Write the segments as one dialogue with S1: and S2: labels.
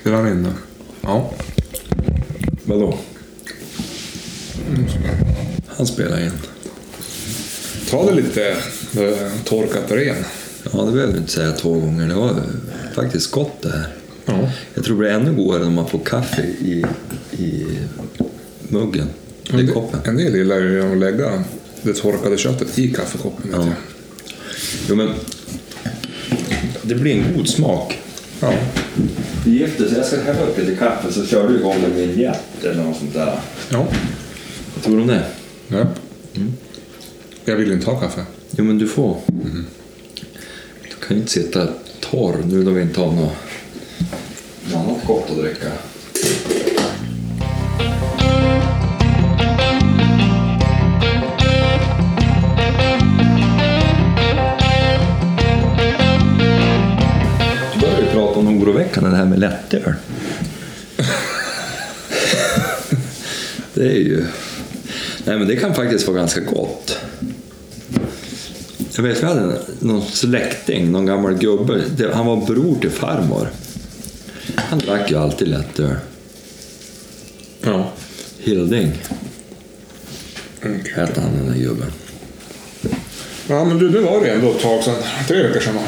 S1: spelar in den. Ja.
S2: Vadå?
S1: Han spelar in.
S2: Ta det lite eh, torkat ren.
S1: Ja, det behöver du inte säga två gånger. Det var eh, faktiskt gott det här.
S2: Ja.
S1: Jag tror det blir ännu godare när man får kaffe i, i muggen. I koppen.
S2: En del gillar ju att lägga det torkade köttet i kaffekoppen. vet
S1: Ja.
S2: jag.
S1: Jo, men det blir en god smak.
S2: Ja.
S3: Det gifte sig. Jag ska hälla upp lite kaffe så kör du igång en vignett eller något sånt där.
S2: Ja.
S1: Vad tror du om det?
S2: ja. Mm. Jag vill ju inte ha kaffe.
S1: Jo, men du får. Du kan ju inte sitta torr nu när vi inte har något något annat gott att dricka. Du börjar ju prata om något oroväckande det här med lättöl. det är ju... Nej, men det kan faktiskt vara ganska gott. Jag vet, vi hade en- någon släkting, någon gammal gubbe. Det- Han var bror till farmor. Han drack ju alltid lättöl.
S2: Ja.
S1: Hilding
S2: Mm.
S1: hette han den där gubben.
S2: Ja men du, nu var det ändå ett tag sedan. Tre veckor sedan va?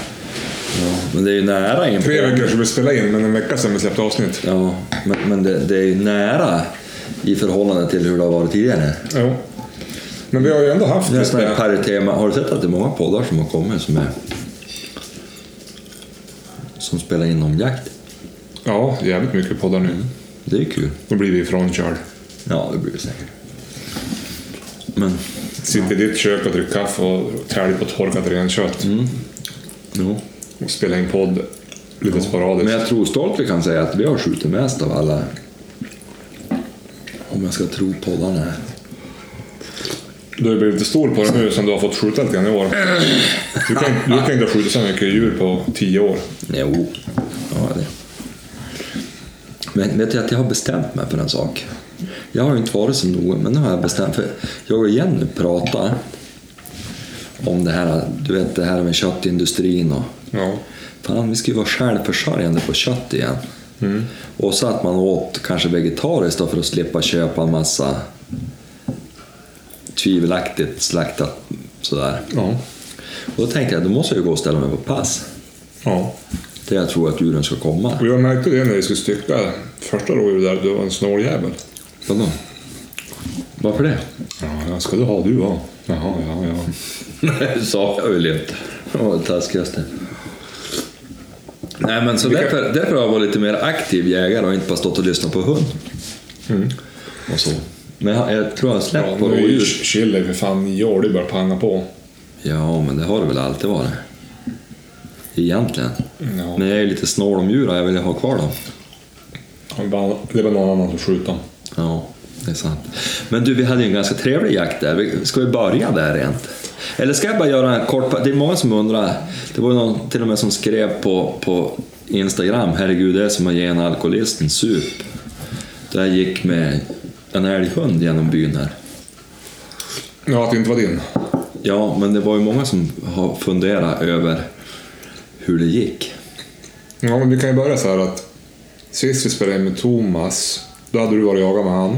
S1: Men det är ju nära in på...
S2: Tre veckor sedan vi spelade in, men en vecka sedan vi släppte avsnitt.
S1: Ja, men, men det, det är ju nära i förhållande till hur det har varit tidigare.
S2: Jo. Men vi har ju ändå haft
S1: Det är
S2: det.
S1: sån här paritema. Har du sett att det är många poddar som har kommit som är... Som spelar in om jakt?
S2: Ja, jävligt mycket poddar nu.
S1: Det är ju kul.
S2: Då blir vi ifrånkörd.
S1: Ja, det blir det säkert. Men...
S2: Sitter i ditt kök och dricker kaffe och täljer på torkat renkött.
S1: Jo.
S2: Och spelar in podd lite sporadiskt.
S1: Men jag tror stolt vi kan säga att vi har skjutit mest av alla. Om jag ska tro poddarna här.
S2: Du har ju blivit stor på det nu som du har fått skjuta lite grann i år. Du kan, du kan inte ha skjutit så mycket djur på tio år.
S1: Jo. Ja, det. Men vet du att jag har bestämt mig för en sak. Jag har ju inte varit så noga, men nu har jag bestämt för Jag och Jenny pratade om det här, du vet det här med köttindustrin och
S2: Ja.
S1: Fan, vi ska ju vara självförsörjande på kött igen. Mm. Och så att man åt kanske vegetariskt då för att slippa köpa en massa tvivelaktigt slaktat sådär.
S2: Ja.
S1: Och då tänkte jag, då måste jag ju gå och ställa mig på pass.
S2: ja.
S1: Där jag tror att djuren ska komma.
S2: Och jag märkte det när vi skulle stycka första rådjuret där, du var en snåljävel.
S1: Vadå? Varför det?
S2: Ja, ja, ska du ha du va? Jaha, ja, ja.
S1: Nej, sa jag väl inte. Det var det taskigaste. Nej, men så därför, därför har jag varit lite mer aktiv jägare och inte bara stått och lyssnat på hund. Och så. Men jag, jag tror jag har släppt
S2: Mm. ja
S1: på
S2: nu är ju
S1: rådjur.
S2: chili för fan nio år, det börjar panga på.
S1: Ja, men det har det väl alltid varit. Egentligen.
S2: Ja.
S1: Men jag är lite snål om djur och jag vill ju ha kvar dem.
S2: Det är bara- det är bara någon annan som skjuter. dem.
S1: Ja, det är sant. Men du, vi hade ju en ganska trevlig jakt där. Vi- Ska vi börja där rent? Eller ska jag bara göra en kort... Det är många som undrar. Det var ju någon till och med som skrev på, på Instagram, herregud, det är som att ge en alkoholist en sup. Där jag gick med en älghund genom byn här.
S2: Ja, att det inte var din.
S1: Ja, men det var ju många som har funderat över hur det gick.
S2: Ja, men vi kan ju börja så här att sist vi spelade in med Thomas, då hade du varit och jagat med han.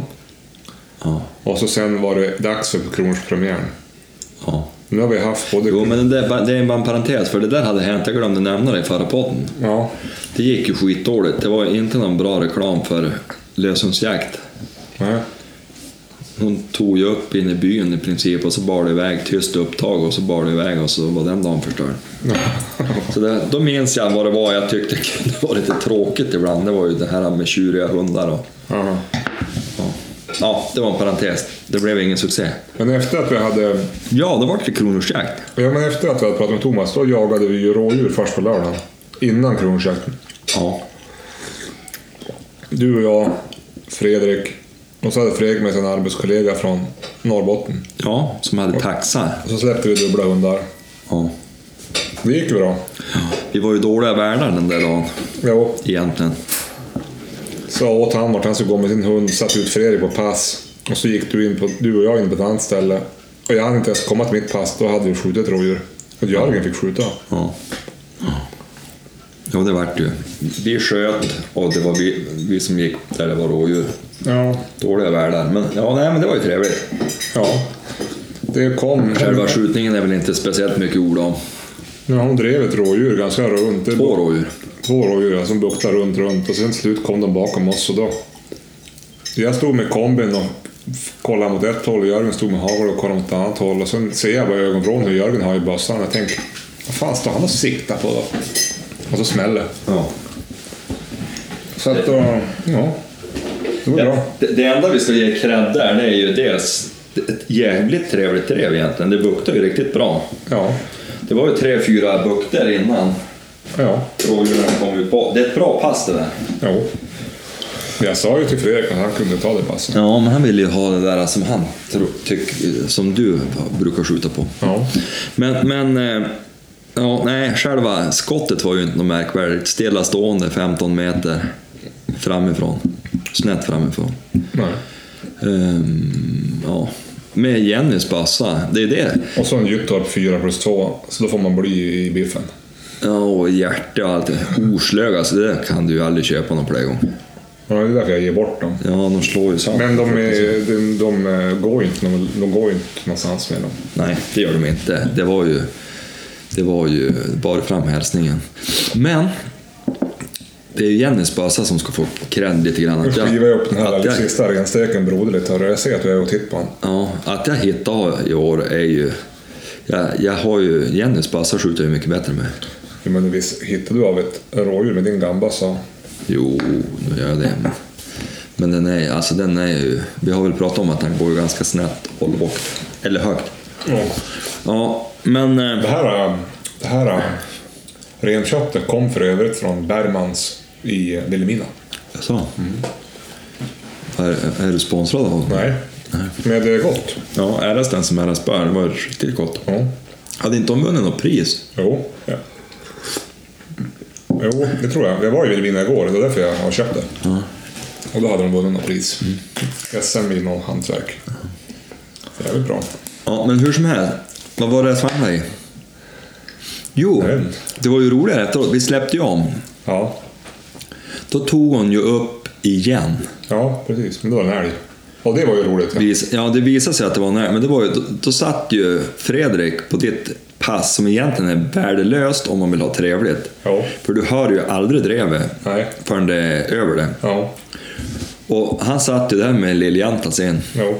S1: Ja,
S2: Och så sen var det dags för kronorspremiären.
S1: ja.
S2: Nu har vi haft både...
S1: Jo, men det, är- det är bara en parentes, för det där hade hänt. Jag glömde nämna det i förra podden.
S2: Ja,
S1: Det gick ju skitdåligt. Det var inte någon bra reklam för löshundsjakt.
S2: nej.
S1: Hon tog ju upp in i byn i princip och så bar det iväg, tyst upptag och så bar det iväg och så var den dagen förstörd. Så det, då minns jag vad det var jag tyckte kunde vara lite tråkigt ibland. Det var ju det här med tjuriga hundar och...
S2: Ja.
S1: Ja, det var en parentes. Det blev ingen succé.
S2: Men efter att vi hade...
S1: Ja, då var det kronorsjakt.
S2: Ja, men efter att vi hade pratat med Thomas, då jagade vi ju rådjur först på lördagen. Innan kronjakten.
S1: Ja.
S2: Du och jag, Fredrik. Och så hade Fredrik med sin arbetskollega från Norrbotten.
S1: Ja, som hade taxar.
S2: Och så släppte vi dubbla hundar.
S1: Ja.
S2: Det gick ju bra.
S1: Vi var ju dåliga värdar den där dagen,
S2: Jo,
S1: egentligen.
S2: sa åt han vart han skulle gå med sin hund, satte ut Fredrik på pass. Och så gick du, in på, du och jag in på ett annat ställe. Och jag hann inte ens komma till mitt pass, då hade vi skjutit rådjur. Och Jörgen fick skjuta.
S1: Ja. Jo, det vart ju. Vi sköt och det var vi, vi som gick där det var rådjur.
S2: Ja.
S1: Dåliga världar, men ja, nej, men det var ju trevligt.
S2: ja. Det kom...
S1: Själva skjutningen är väl inte speciellt mycket ord om.
S2: Nu har hon drev ett rådjur ganska runt. Det
S1: Två rådjur.
S2: två rådjur här som buktade runt, runt och sen till slut kom de bakom oss och då... Jag stod med kombin och f- kollade mot ett håll och Jörgen stod med hagel och kollade mot ett annat håll och sen ser jag bara i ögonvrån hur Jörgen har i bössan och jag tänker vad fan står han och siktar på då? Och så smäller
S1: Ja.
S2: Så att då, ja. Det var bra.
S1: Det, det enda vi ska ge cred där det är ju dels ett jävligt trevligt drev egentligen. Det buktade ju riktigt bra.
S2: Ja,
S1: Det var ju tre, fyra bukter innan
S2: ja,
S1: rådjuren kom ut på. Det är ett bra pass det där.
S2: jo. Jag sa ju till Fredrik att han kunde ta det passet.
S1: Ja, men han ville ju ha det där som han tro- tyck, som du brukar skjuta på.
S2: Ja.
S1: Men, men eh, ja, nej, själva skottet var ju inte något märkvärdigt. Stilla stående 15 meter framifrån. Snett framifrån.
S2: Nej.
S1: Ehm, ja. Med Jennys bössa, det är det.
S2: Och så en Gyttorp 4 plus 2, så då får man bli i biffen.
S1: Ja, och hjärta och allt. det. Oslög, alltså det kan du ju aldrig köpa någon fler gång.
S2: Ja, det är därför jag ger bort dem.
S1: Ja, de slår ju sönder.
S2: Men de, är, de, de eh, går ju inte, de, de går ju inte någonstans med dem.
S1: Nej, det gör de inte. Det var ju, det var ju bara framhälsningen. Men det är ju Jennys bössa som ska få cred lite grann.
S2: Nu
S1: Att
S2: skivar jag upp den här
S1: att
S2: lilla
S1: jag,
S2: sista rensteken broder lite här och jag ser att du är och tittar på honom.
S1: ja, att jag hittade i år är ju... Jag, jag har ju... Jennys bössa skjuter jag ju mycket bättre med.
S2: Jo, Men visst hittade du av ett rådjur med din gamba så...
S1: Jo, nu gör jag det. Men, men den är alltså den är ju... Vi har väl pratat om att den går ju ganska snett håll bort. Eller högt. Ja, men... eh,
S2: Det här, eh, det här eh, renköttet kom för övrigt från Bergmans i eh, Vilhelmina.
S1: Jaså? Är, är du sponsrad av honom?
S2: Nej, men det är eh, gott.
S1: Ja, äras den som äras bör. Det var riktigt gott.
S2: Ja.
S1: Hade inte de vunnit något pris?
S2: Jo. Ja. Jo, det tror jag. Jag var i Vilhelmina igår, det är därför jag har köpt det. Och då hade de vunnit något pris. SM i något hantverk. Jävligt bra.
S1: Ja, men hur som helst. Vad var det jag svamlade i? Jo,
S2: Jag vet inte.
S1: det var ju roligare efteråt. Vi släppte ju om.
S2: Ja,
S1: Då tog hon ju upp igen.
S2: ja precis. Men det var en älg. Och det var ju roligt. Ja.
S1: Vis- Ja, det visade sig att det var när, men det var ju, då, då satt ju Fredrik på ditt pass som egentligen är värdelöst om man vill ha trevligt.
S2: Ja.
S1: För du hör ju aldrig drevet
S2: Nej.
S1: förrän det är över det.
S2: Ja.
S1: Och han satt ju där med lilljänta sin.
S2: Jo.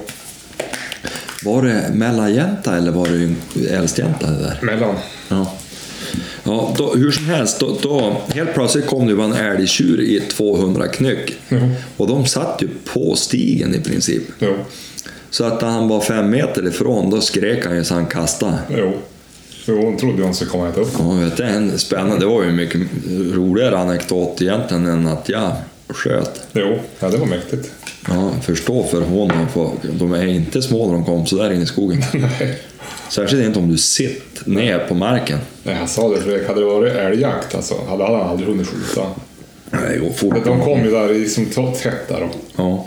S1: Var det mellanjänta eller var det yng- äldstjänta det där?
S2: Mellan.
S1: Ja. Ja, då, hur som helst, då, då, helt plötsligt kom det ju bara en älgtjur i 200 knyck.
S2: Jo.
S1: Och de satt ju på stigen i princip.
S2: Jo.
S1: Så att när han var fem meter ifrån, då skrek han ju så han kastade.
S2: Jo. Jo, hon trodde hon skulle komma och äta upp.
S1: Ja, vet du, en spännande, det var ju en mycket roligare anekdot egentligen än att jag sköt.
S2: Jo. Ja, det var mäktigt.
S1: Ja, förstå för honom, för de är inte små när de kom så där in i skogen.
S2: Nej.
S1: Särskilt inte om du sitter ner på marken.
S2: Nej, han sa det Fredrik. Hade det varit älgjakt alltså, hade han aldrig hunnit skjuta.
S1: Nej, och fort.
S2: De kom ju där i som t- tätt där. då.
S1: Ja.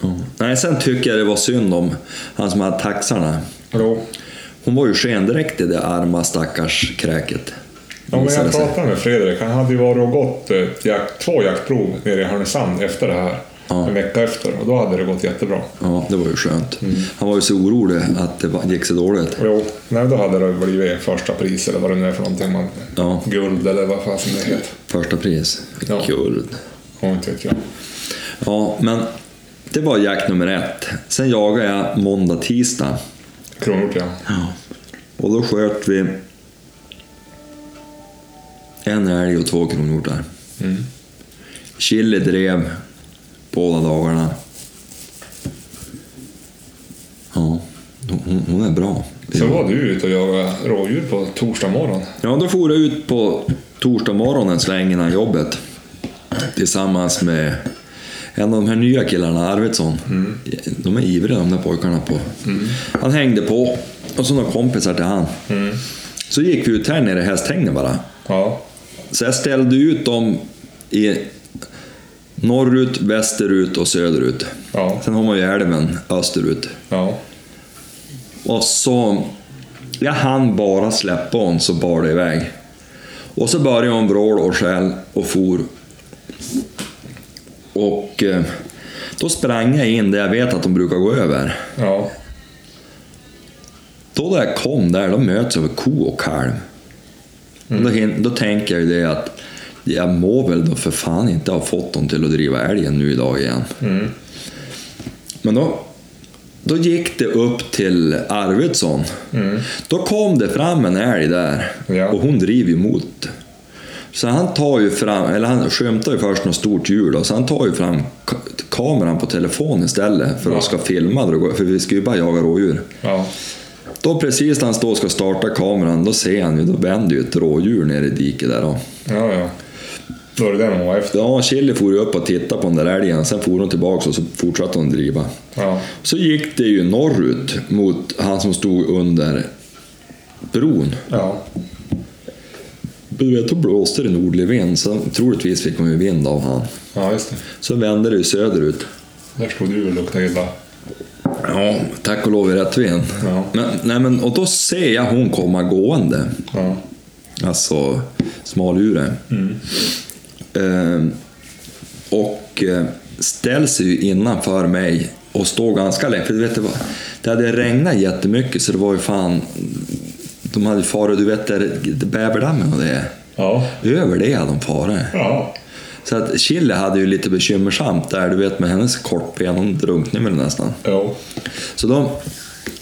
S1: Ja. Nej, sen tycker jag det var synd om han som hade taxarna.
S2: Jo.
S1: Hon var ju skendräkt i det arma stackars kräket.
S2: Ja, men
S1: Visade
S2: jag
S1: sig.
S2: pratade med Fredrik. Han hade ju varit och gått ett jakt, två jaktprov nere i Härnösand efter det här. En vecka efter. Och då hade det gått jättebra.
S1: Ja, det var ju skönt.
S2: Mm.
S1: Han var ju så orolig att det var- gick så dåligt.
S2: Jo, nej, då hade det blivit första pris eller vad det nu är för någonting. Man,
S1: Ja.
S2: Guld eller vad fasen det heter.
S1: Första pris.
S2: Ja.
S1: Guld.
S2: Ja, inte vet jag.
S1: Ja, men det var jakt nummer ett. Sen jagade jag måndag, tisdag.
S2: Kronort ja.
S1: Och då sköt vi en älg och två kronhjortar.
S2: Mm.
S1: Chili drev båda dagarna. Ja, hon, hon är bra.
S2: Så var du ute och jagade rådjur på torsdag morgon.
S1: Ja, då for jag ut på torsdag morgonen släng innan jobbet. Tillsammans med en av de här nya killarna, Arvidsson. De är ivriga de där pojkarna. på. Han hängde på och så några kompisar till han. Så gick vi ut här nere i hästhägnet bara.
S2: Ja.
S1: Så jag ställde ut dem i norrut, västerut och söderut.
S2: Ja.
S1: Sen har man ju älven österut.
S2: Ja.
S1: Och så... Jag hann bara släppa hon så bar det iväg. Och så började hon vråla och skäll och for. Och eh, då sprang jag in där jag vet att de brukar gå över.
S2: Ja.
S1: Då när jag kom där, då möts jag av ko och kalv.
S2: Mm.
S1: Då, hin- då tänker jag ju det att jag må väl då för fan inte ha fått dem till att driva älgen nu idag igen.
S2: Mm.
S1: Men då, då gick det upp till Arvidsson. Då kom det fram en älg där
S2: Mm. Ja.
S1: och hon driver ju mot. Så han tar ju fram, eller han skymtar ju först något stort djur då, så han tar ju fram ka- kameran på telefon istället för
S2: Ja.
S1: att ska filma, då det går- för vi ska ju bara jaga rådjur.
S2: Ja.
S1: Då precis när han står och ska starta kameran, då ser han ju, då vänder ju ett rådjur ner i diket där då.
S2: Ja, ja. Då är det den hon var efter.
S1: Ja, Chili for ju upp och tittade på den där älgen, sen for hon tillbaka och så fortsatte hon driva.
S2: Ja.
S1: Så gick det ju norrut mot han som stod under bron.
S2: Ja.
S1: Du vet, då blåste det en nordlig vind, så troligtvis fick hon ju vind av han.
S2: Ja, just det.
S1: Så vände det ju söderut.
S2: Där stod du och luktade illa.
S1: Ja, tack och lov i rätt vind.
S2: Ja.
S1: Men, nej, men, och då ser jag hon komma gående.
S2: Ja.
S1: Alltså smalure. Ehm, och eh, ställer sig ju innanför mig och står ganska länge. För du vet, det, var, det hade regnat jättemycket så det var ju fan... De hade farit, du vet där bäverdammen och det.
S2: Ja.
S1: Över det hade de farit.
S2: Ja.
S1: Så att Chile hade ju lite bekymmersamt där, du vet med hennes kortben, hon drunknade väl nästan.
S2: Jo.
S1: Så de,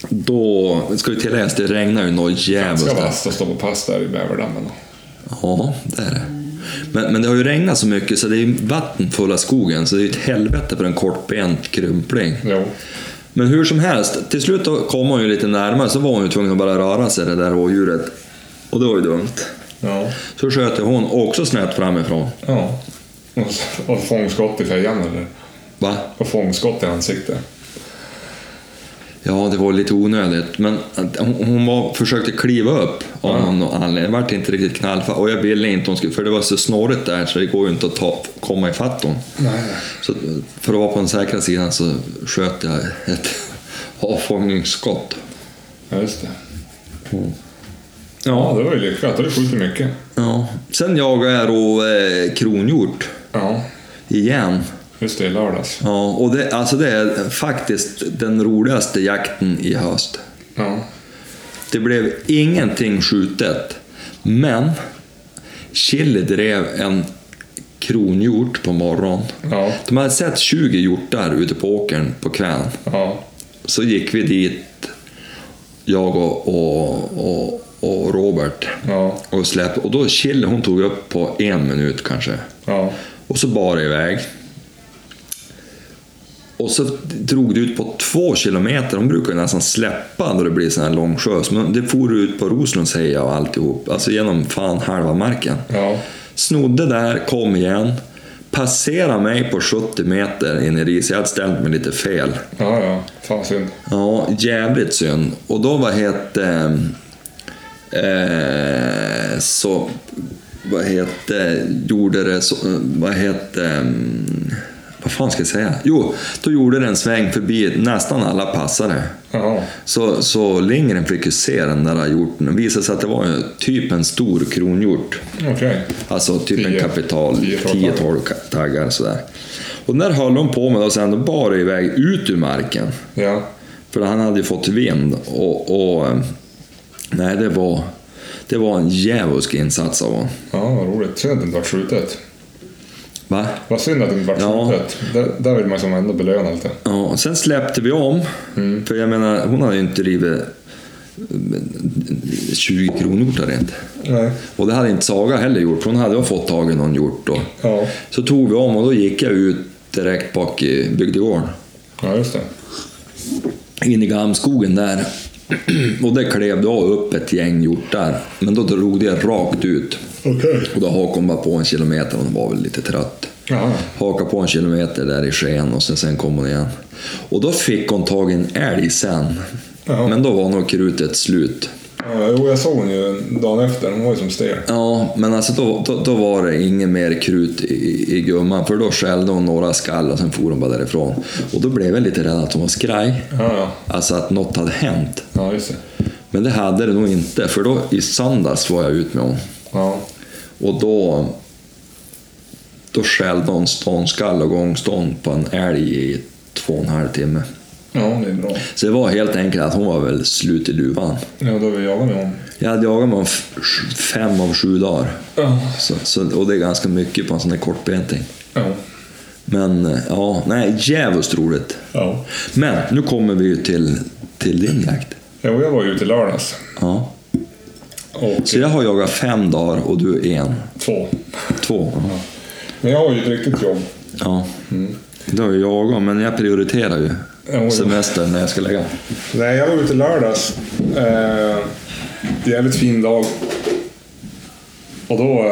S1: då, ska vi tillägga att det regnar ju något djävulskt.
S2: Ska
S1: där.
S2: vasta stå på pass där i bäverdammen. då.
S1: Ja, det är det. Men, men det har ju regnat så mycket så det är ju vatten fulla skogen så det är ju ett helvete för en kortbent krympling.
S2: Jo.
S1: Men hur som helst, till slut då kom hon ju lite närmare så var hon ju tvungen att bara röra sig det där rådjuret. Och det var ju dumt.
S2: Ja.
S1: Så sköt ju hon också snett framifrån.
S2: Ja. Och så- Och fångskott i fejan eller?
S1: Va?
S2: Och fångskott i ansiktet.
S1: Ja, det var lite onödigt. Men att hon hon var, försökte kliva upp av någon anledning. Det vart inte riktigt knallfast. Och jag ville inte hon skulle... För det var så snårigt där så det går ju inte att ta, komma ifatt hon.
S2: Nej.
S1: Så för att vara på den säkra sidan så sköt jag ett avfångningsskott.
S2: Ja, just det. Ja,
S1: Ja.
S2: det var ju lyckat. Då har du skjutit mycket.
S1: ja. Sen jagade jag då eh, kronhjort
S2: Ja.
S1: igen.
S2: Just det, i lördags.
S1: Ja, och det, alltså det är faktiskt den roligaste jakten i höst.
S2: Ja.
S1: Det blev ingenting skjutet, men Chili drev en kronhjort på morgonen.
S2: Ja.
S1: De hade sett 20 hjortar ute på åkern på kvällen.
S2: Ja.
S1: Så gick vi dit, jag och, och, och, och Robert.
S2: Ja.
S1: Och, släpp, och då Chille, hon tog upp på en minut kanske.
S2: Ja.
S1: Och så bar det iväg. Och så drog det ut på två kilometer. De brukar ju nästan släppa när det blir sån här lång sjö. Så Men det for ut på Roslunds heja och alltihop. Alltså genom fan halva marken.
S2: Ja.
S1: Snodde där, kom igen. Passera mig på 70 meter in i ris. Jag hade ställt mig lite fel.
S2: Ja, ja. Fan synd.
S1: Ja, jävligt synd. Och då vad hette... Eh, så... Vad hette... Gjorde det så... eh, Vad hette... mm, Vad fan ska jag säga? Jo, då gjorde det en sväng förbi nästan alla passare.
S2: Ja.
S1: Så, så Lindgren fick ju se den där hjorten. Det visade sig att det var ju typ en stor kronhjort.
S2: Okej.
S1: Alltså typ en
S2: Tio.
S1: kapital,
S2: Tio taggar.
S1: 10-12 taggar sådär. Och när höll hon på med det och sen då bar det iväg ut ur marken.
S2: Ja.
S1: För han hade ju fått vind och, och eh, nej, det var, det var en djävulsk insats av honom.
S2: Ja, vad roligt. Synd att det inte vart skjutet.
S1: Va?
S2: Vad synd att det inte vart
S1: Ja.
S2: skjutet. Där, där vill man som ändå belöna lite.
S1: Ja, och sen släppte vi om. För jag menar, hon hade ju inte rivit eh, 20 kronor där inte.
S2: Nej.
S1: Och det hade inte Saga heller gjort, för hon hade ju fått tag i någon hjort då.
S2: Ja.
S1: Så tog vi om och då gick jag ut direkt bak i bygdegården.
S2: Ja, just det.
S1: in i gamskogen där. Och där klev då upp ett gäng hjortar. Men då drog det rakt ut.
S2: Okej.
S1: Och då hakade hon bara på en kilometer, hon var väl lite trött.
S2: Ja.
S1: Hakade på en kilometer där i sken och sen, sen kom hon igen. Och då fick hon tag i en älg sen.
S2: Ja.
S1: Men då var nog krutet
S2: ja.
S1: slut.
S2: Jo, jag såg hon ju dagen efter. Hon var ju som stel.
S1: Ja, men alltså då, då, då var det inget mer krut i, i, i gumman. För då skällde hon några skall och sen for hon bara därifrån. Och då blev jag lite rädd att hon var skraj.
S2: Ja, ja.
S1: Alltså att något hade hänt.
S2: Ja, just det.
S1: Men det hade det nog inte, för då i söndags var jag ut med hon.
S2: Ja.
S1: Och då, då skällde hon ståndskall och gångstånd på en älg i två och en halv timme.
S2: Ja, det är bra.
S1: Så det var helt enkelt att hon var väl slut i duvan.
S2: Ja, då vill jag med honom.
S1: Jag hade jagat med honom f- fem av sju dagar.
S2: Ja.
S1: Så, så, och det är ganska mycket på en sån där kortbenting.
S2: Ja.
S1: Men eh, ja, nej, djävulskt roligt.
S2: ja.
S1: Men nu kommer vi ju till, till din jakt.
S2: Jo, jag var ute i lördags.
S1: Ja.
S2: Och
S1: Så jag har jagat fem dagar och du en.
S2: två.
S1: Två. Ja.
S2: Men jag har ju ett riktigt jobb.
S1: ja. Det har ju jag också, men jag prioriterar ju
S2: Jo, jo.
S1: semestern när jag ska lägga.
S2: Nej, jag var ute i lördags. Eh, jävligt fin dag. Och då...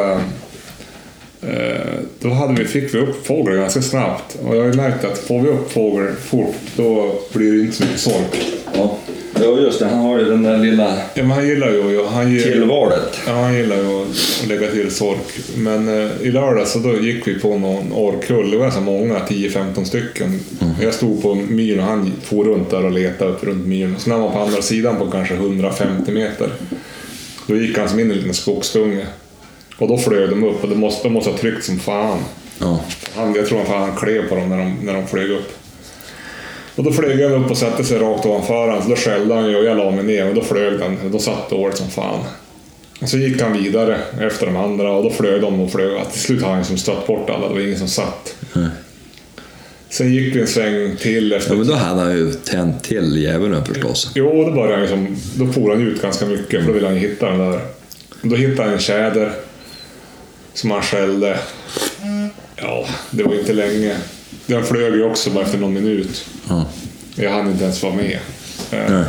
S2: Eh, eh, då hade vi, fick vi upp fåglar ganska snabbt. Och jag har ju märkt att får vi upp fåglar fort, då blir det inte så mycket sork.
S1: Ja. ja, just det. Han har ju den där lilla
S2: Ja, men han gillar ju... och Han gillar,
S1: tillvalet.
S2: Ja, han gillar ju att lägga till sork. Men eh, i lördags så då gick vi på någon orrkull. Det var så många, 10-15 stycken. Jag stod på myren och han for runt där och letade upp runt myren. Så när man var på andra sidan på kanske 150 meter. Då gick han som in i en liten skogsdunge. Och då flög de upp och de måste, de måste ha tryckt som fan.
S1: Ja.
S2: Han, jag tror fan han klev på dem när de, när de flög upp. Och då flög han upp och satte sig rakt ovanför honom, så då skällde han ju och jag la mig ner och då flög han. och Då satt dåligt som fan. Och så gick han vidare efter de andra och då flög de och flög. Och till slut har han som stött bort alla, det var ingen som satt. Sen gick vi en sväng till efter...
S1: ja, men då hade han ju tänt till djävulen förstås.
S2: Jo, då började han ju som, Då for han ut ganska mycket för då ville han ju hitta den där. Då hittade han en tjäder som han skällde. Ja, det var inte länge. Den flög ju också bara efter någon minut.
S1: Ja.
S2: Jag hann inte ens vara med. Eh,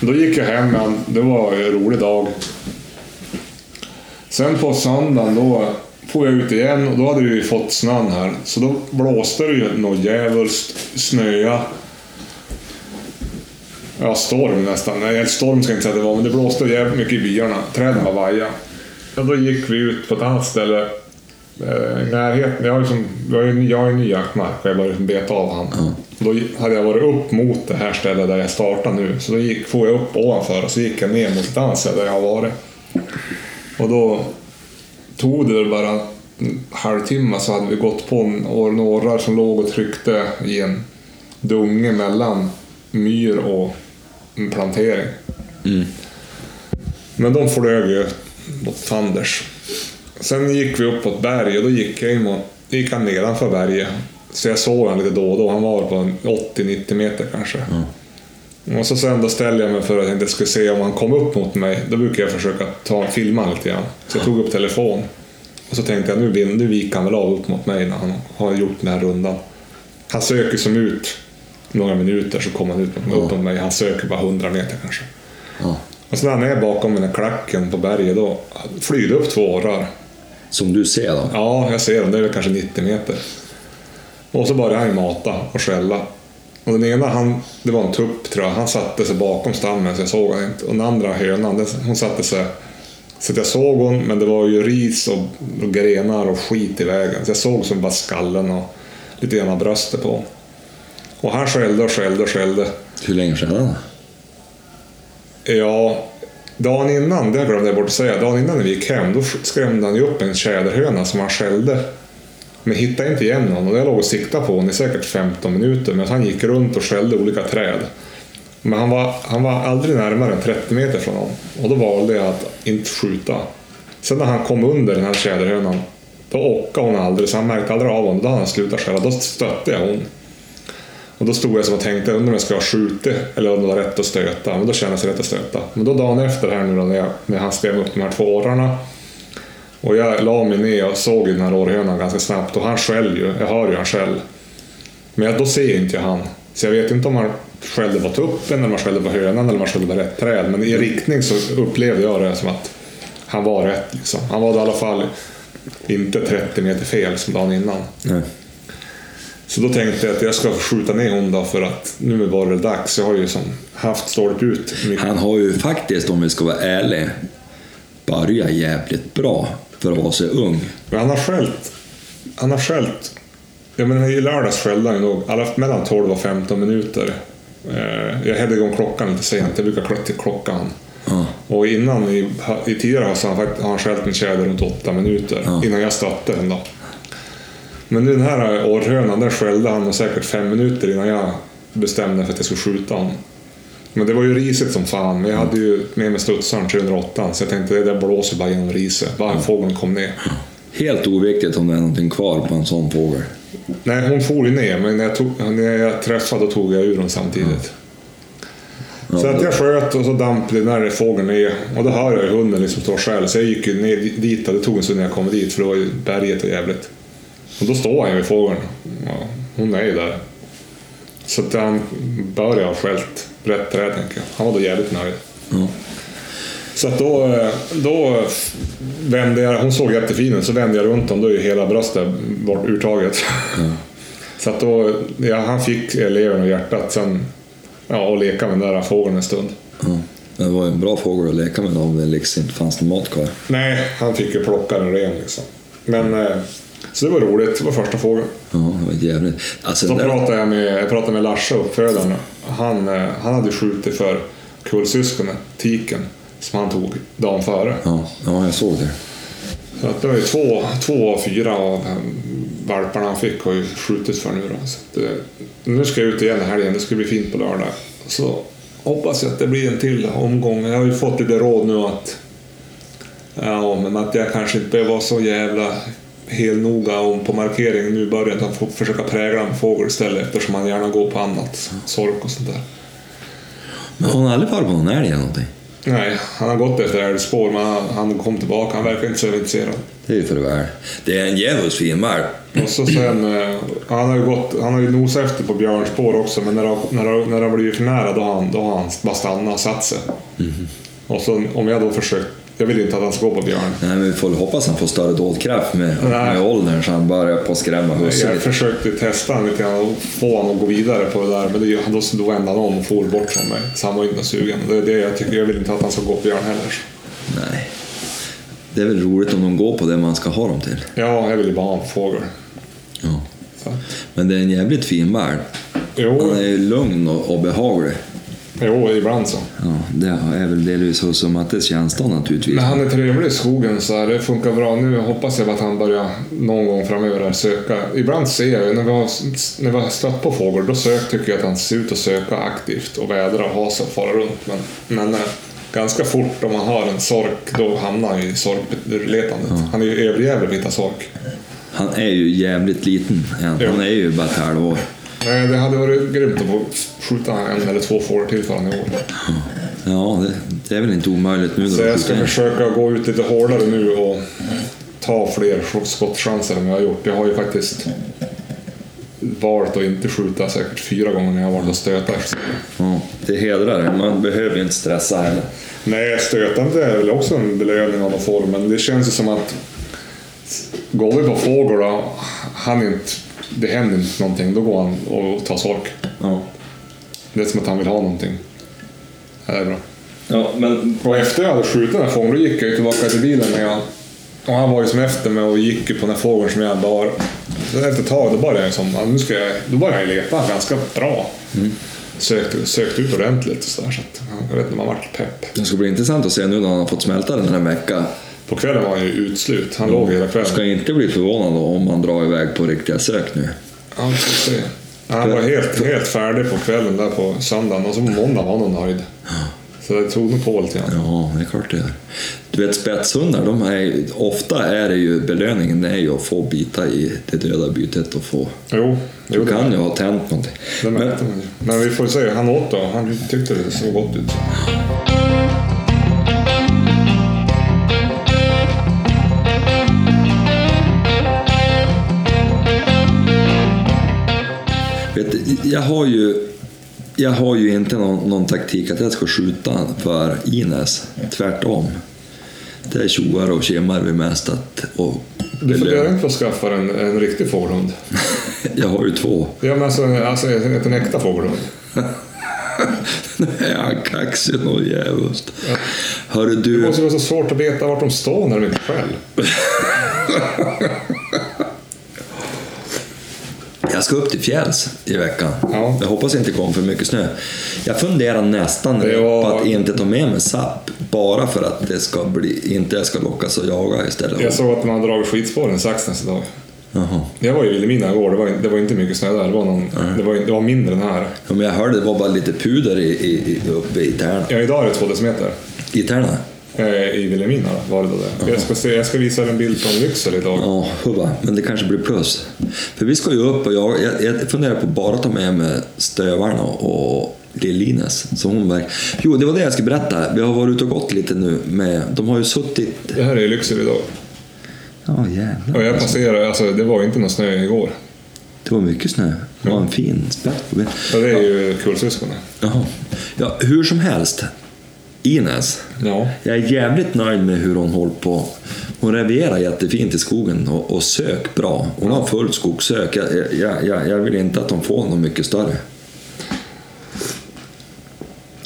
S2: Då gick jag hem med han. Det var en rolig dag. Sen på söndagen då får jag ut igen och då hade vi fått snön här. Så då blåste det ju något djävulskt, snöa. Ja, storm nästan. Nej, en storm ska jag inte säga att det var, men det blåste jävligt mycket i byarna. Träden var vaja. Ja, då gick vi ut på ett annat ställe. Eh, närheten. Jag har ju som- jag har ju en- jag har ju en ny jaktmark och jag började beta av han. Och Då hade jag varit upp mot det här stället där jag startar nu. Så då gick, får jag upp ovanför och så gick jag ner mot ett annat ställe där jag har varit. Och då tog det väl bara en halvtimme så hade vi gått på en or- en orrar som låg och tryckte i en dunge mellan myr och en plantering. Men de flög ju mot fanders. Sen gick vi upp på ett berg och då gick, jag in mot, då gick han nedanför berget. Så jag såg han lite då och då. Han var på en 80-90 meter kanske. Och så sen då ställde jag mig för att jag inte skulle se om han kom upp mot mig. Då brukar jag försöka ta filma han lite grann. Så jag tog upp telefon. Och så tänkte jag nu, vin- nu viker han väl av upp mot mig när han har gjort den här rundan. Han söker som ut några minuter så kommer han ut mot, upp mot mig. Han söker bara 100 meter kanske.
S1: Ja.
S2: Och sen Alltså, när han är bakom den här klacken på berget då flyr det upp två orrar.
S1: Som du ser då.
S2: Ja, jag ser dem. Det är väl kanske 90 meter. Och så började han ju mata och skälla. Och den ena, han, det var en tupp tror jag, han satte sig bakom stammen så jag såg honom inte. Och den andra hönan, den, hon satte sig... Så att jag såg hon, men det var ju ris och, och grenar och skit i vägen. Så jag såg som bara skallen och lite grann av bröstet på hon. Och han skällde och skällde och skällde.
S1: Hur länge sedan?
S2: Ja, dagen innan, det glömde jag bort att säga, dagen innan när vi gick hem då skrämde han ju upp en tjäderhöna som han skällde. Men hittade inte igen honom och jag låg och siktade på honom i säkert 15 minuter men han gick runt och skällde olika träd. Men han var, han var aldrig närmare än 30 meter från honom och då valde jag att inte skjuta. Sen när han kom under den här tjäderhönan då åkade hon aldrig så han märkte aldrig av honom. Då hade han slutat skälla. Då stötte jag hon. Och då stod jag som och tänkte, undrar om jag ska ha skjutit eller om det var rätt att stöta. Men då kändes det rätt att stöta. Men då dagen efter här nu då när, jag, när han skrev upp de här två årarna. Och jag la mig ner och såg ju den här århönan ganska snabbt och han skäll ju. Jag hör ju han skäll. Men jag, då ser jag inte han. Så jag vet inte om han skällde på tuppen, eller om han skällde på hönan eller om han skällde på rätt träd. Men i riktning så upplevde jag det som att han var rätt. Liksom. Han var i alla fall inte 30 meter fel som dagen innan.
S1: Nej.
S2: Så då tänkte jag att jag ska skjuta ner hon då för att nu var det dags. Jag har ju som haft stålet ut. mycket.
S1: Han har ju faktiskt, om vi ska vara ärliga, börjat jävligt bra för att vara så ung.
S2: Men han har skällt. Han har skällt. Jag menar i lördags skällde han ju nog alla, mellan 12 och 15 minuter. Eh, Jag hade igång klockan lite sent. Jag brukar klocka till klockan.
S1: Ja.
S2: Och innan, i, i tidigare höst, har han, fakt- har han skällt en tjäder runt åtta minuter
S1: Ja.
S2: innan jag stötte den. Då. Men den här orrhönan, den skällde han nog säkert fem minuter innan jag bestämde mig för att jag skulle skjuta honom. Men det var ju riset som fan, men jag hade ju med mig studsaren 308 så jag tänkte det där blåser bara genom riset, bara fågeln kom ner.
S1: Helt oviktigt om det är någonting kvar på en sån fågel.
S2: Nej, hon for ju ner, men när jag, tog, när jag träffade då tog jag ur den samtidigt.
S1: Ja,
S2: Så att jag sköt och så damp den där fågeln ner. Och då hör jag ju hunden liksom stå och skäll. Så jag gick ju ner dit. och Det tog en stund när jag kom dit för det var ju berget och jävligt. Och då står han ju vid fågeln. Ja, hon är ju där. Så att han bör ju ha skällt rätt träd tänker jag. Han var då jävligt nöjd.
S1: Ja.
S2: Så att då, eh, då vände jag, hon såg jättefin ut, så vände jag runt honom, då är ju hela bröstet bort urtaget. Så att då, ja, han fick eh, levern och hjärtat sen, ja, och leka med den där fågeln en stund.
S1: Ja. Det var ju en bra fågel att leka med om det liksom inte fanns någon mat kvar.
S2: Nej, han fick ju plocka den ren liksom. Men, eh, så det var roligt, det var första fågeln.
S1: Ja, det var jävligt. Alltså,
S2: Då
S1: den där,
S2: pratade jag med, jag pratade med Larsa, uppfödaren. Han, eh, han hade skjutit för kullsyskonet, tiken, som han tog dagen före.
S1: ja, ja, jag såg det.
S2: Så att det var ju två, två av fyra av um, valparna han fick har ju skjutits för nu då. Så att, eh, nu ska jag ut igen i helgen, det ska bli fint på lördag. Så hoppas jag att det blir en till omgång. Jag har ju fått lite råd nu att, ja, men att jag kanske inte behöver vara så jävla helt noga om på markeringen nu i början utan får försöka prägla en fågel istället eftersom han gärna går på annat, sork och sånt där.
S1: Men hon har aldrig varit på någon älg eller någonting.
S2: Nej, han har gått efter älgspår men han, han kom tillbaka, han verkar inte så intresserad.
S1: Det är ju för det väl. Det är en djävulskt fin valp.
S2: Och så sen, eh, han har ju, gått, han har ju nosat efter på björnspår också, men när det, har- när det, när det har blivit för nära då har han, då har han bara stannat och satt sig. Och så om jag då försökt, jag vill inte att han ska gå på björn.
S1: Nej, men vi får väl hoppas han får större dådkraft med,
S2: Nej.
S1: med åldern så han börjar på att skrämma husse
S2: Jag
S1: lite.
S2: försökte testa honom lite grann och få honom att gå vidare på det där, men det, då, då vände han om och for bort från mig. Så han var inte sugen. Det är det jag tycker, jag vill inte att han ska gå på björn heller.
S1: Nej. Det är väl roligt om de går på det man ska ha dem till.
S2: Ja, jag vill ju bara ha en fågel.
S1: Ja.
S2: Så.
S1: Men det är en jävligt fin valp. Han
S2: Jo,
S1: är ju lugn och, och behaglig.
S2: jo, ibland så.
S1: Ja, det är väl delvis hos Mattes tjänster naturligtvis.
S2: Men han är trevlig i skogen så här, det funkar bra. Nu hoppas jag att han börjar någon gång framöver här söka. Ibland ser jag ju, när vi har, när vi har stött på fågel, då sök, tycker jag att han ser ut att söka aktivt och vädra och ha sig och fara runt. Men, men eh, ganska fort om man har en sork, då hamnar han ju i sorkletandet. Han är ju överjävlig på att hitta sork.
S1: Han är ju jävligt liten än.
S2: Ja.
S1: Han är ju bara ett halvår.
S2: Nej, det hade varit grymt att få skjuta en eller två fåglar till för honom i år.
S1: Ja, det, det är väl inte omöjligt nu.
S2: Så
S1: då.
S2: jag ska försöka gå ut lite hårdare nu och ta fler skottchanser än jag har gjort. Jag har ju faktiskt valt att inte skjuta säkert fyra gånger när jag har valt att stöta.
S1: ja, det hedrar en. Man behöver ju inte stressa heller.
S2: Nej, stötande är väl också en belöning av någon form, men det känns ju som att går vi på fågel då, han inte, det händer inte någonting, då går han och tar sork.
S1: Ja.
S2: Det är som att han vill ha någonting. Det här är bra.
S1: Ja, men...
S2: Och efter jag hade skjutit den här fågeln, då gick jag ju tillbaka till bilen med honom. Och han var ju som efter mig och gick ju på den här fågeln som jag bar. Så efter ett tag, då började jag som, ja, nu ska jag, då började jag leta ganska bra.
S1: Mm.
S2: Sökte, sökte ut ordentligt och sådär, så att, ja, jag vet inte, man vart pepp.
S1: Det ska bli intressant att se nu när han har fått smälta den här veckan.
S2: På kvällen var han ju utslut, han låg hela kvällen.
S1: Mm. Ska inte bli förvånad om han drar iväg på riktiga sök nu.
S2: Ja, vi får se. Han var helt, helt färdig på kvällen där på söndagen och så på måndag var han nog nöjd. Så det tog nog på lite grann.
S1: Ja, det är klart det gör. Du vet spetshundar, de är, ju- ofta är det ju belöningen det är ju att få bita i det döda bytet och få...
S2: Jo, jo
S1: Du
S2: det,
S1: kan ju ha tänt någonting.
S2: det
S1: Men,
S2: märkte man ju. Men vi får se, han åt då. Han tyckte det såg gott ut.
S1: vet, du, jag har ju... Jag har ju inte någon, någon taktik att jag ska skjuta för Ines, tvärtom. Det är tjoar och tjemmar vi mest att... Och
S2: Du funderar inte på att skaffa en, en riktig fågelhund?
S1: jag har ju två.
S2: Ja, men alltså, alltså en, en äkta fågelhund.
S1: Nu är han kaxig och djävulskt. Hörru du...
S2: Det måste vara så svårt att veta vart de står när de inte skäll.
S1: Jag ska upp till fjälls i veckan.
S2: Ja.
S1: Jag hoppas det inte kom för mycket snö. Jag funderar nästan
S2: Det var-
S1: på att inte ta med mig SAP. bara för att det ska bli, inte jag ska lockas att jaga istället.
S2: Jag såg att de hade dragit skidspår i Saxnäs idag.
S1: Jaha.
S2: Jag var i Vilhelmina igår, det var, det var inte mycket snö där. Det var, någon, det var, det var mindre än här.
S1: Ja, men jag hörde det var bara lite puder i, i, i- uppe i Tärna.
S2: Ja, idag är det två decimeter.
S1: I Tärna?
S2: Eh, I Vilhelmina då, var det då det. Jag ska, se, jag ska visa er en bild från Lycksele idag.
S1: Ja, hubba. Men det kanske blir plus. För vi ska ju upp och jag, jag, jag funderar på bara att ta med mig stövarna och Lill-Ines. Så hon verk... Jo, det var det jag skulle berätta. Vi har varit ute och gått lite nu med... De har ju suttit...
S2: Det här är i Lycksele idag.
S1: Ja, jävlar.
S2: Och jag passerade, alltså det var ju inte någon snö igår.
S1: Det var mycket snö. Det var en fin spett på benen.
S2: Ja, det är ju kullsyskonen.
S1: Jaha. Ja, hur som helst. Ines.
S2: Ja.
S1: Jag är jävligt nöjd med hur hon håller på. Hon revierar jättefint i skogen och, och sök bra. Hon har fullt skogssök. Jag, jag, jag, jag vill inte att hon får något mycket större.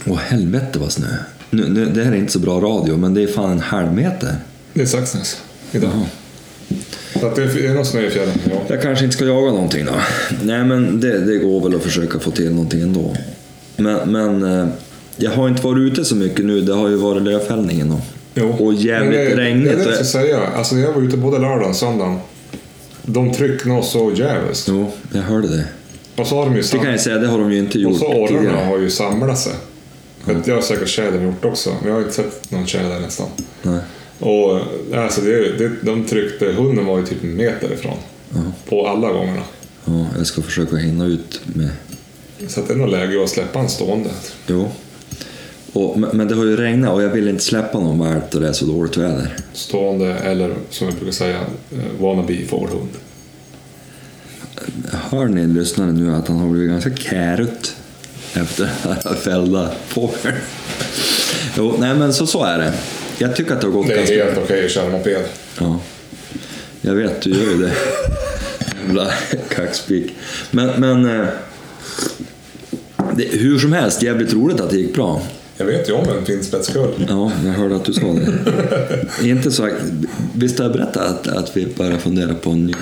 S1: Åh helvete vad snö. Nu, nu, det här är inte så bra radio, men det är fan en halv meter.
S2: Det är Saxnäs idag.
S1: Jaha.
S2: Så att det, är, det är någon snö i fjällen. Ja.
S1: Jag kanske inte ska jaga någonting då. Nej, men det, det går väl att försöka få till någonting ändå. Men, men eh, jag har inte varit ute så mycket nu. Det har ju varit lövfällningen och,
S2: Jo.
S1: och jävligt
S2: Men det,
S1: regnigt.
S2: Det är det
S1: och
S2: jag
S1: jag-
S2: ska säga. Alltså när jag var ute både lördagen och söndagen. De tryckte oss så djävulskt.
S1: Jo, jag hörde det.
S2: Och så har de ju
S1: Mm. Det
S2: sam-
S1: kan jag säga, det har de ju inte
S2: Och
S1: gjort
S2: så orrarna
S1: tidigare.
S2: har ju samlat sig. Mm. Det har säkert tjädern gjort också. Men jag har inte sett någon tjäder nästan.
S1: Nej.
S2: Och alltså det, det, de tryckte, hunden var ju typ en meter ifrån. På alla gångerna.
S1: Ja, jag ska försöka hinna ut med...
S2: Så att det är nog läge att släppa en stående.
S1: Jo. Och, men men det har ju regnat och jag vill inte släppa någon valp då det är så dåligt väder.
S2: Stående eller som jag brukar säga, eh, wannabe fårhund.
S1: Hör ni lyssnare nu att han har blivit ganska kärut efter den fällda fågeln? Jo, nej men så, så är det. Jag tycker att det har gått
S2: Det är
S1: ganska...
S2: helt okej att köra moped.
S1: Ja. Jag vet, du gör ju det. Jävla kaxpik. Men, men... eh, Det, hur som helst, jävligt roligt att det gick bra.
S2: Jag vet ju om en finspetskull.
S1: Ja, jag hörde att du sa det. Inte så, visst har jag berättat att, att vi börjar fundera på en ny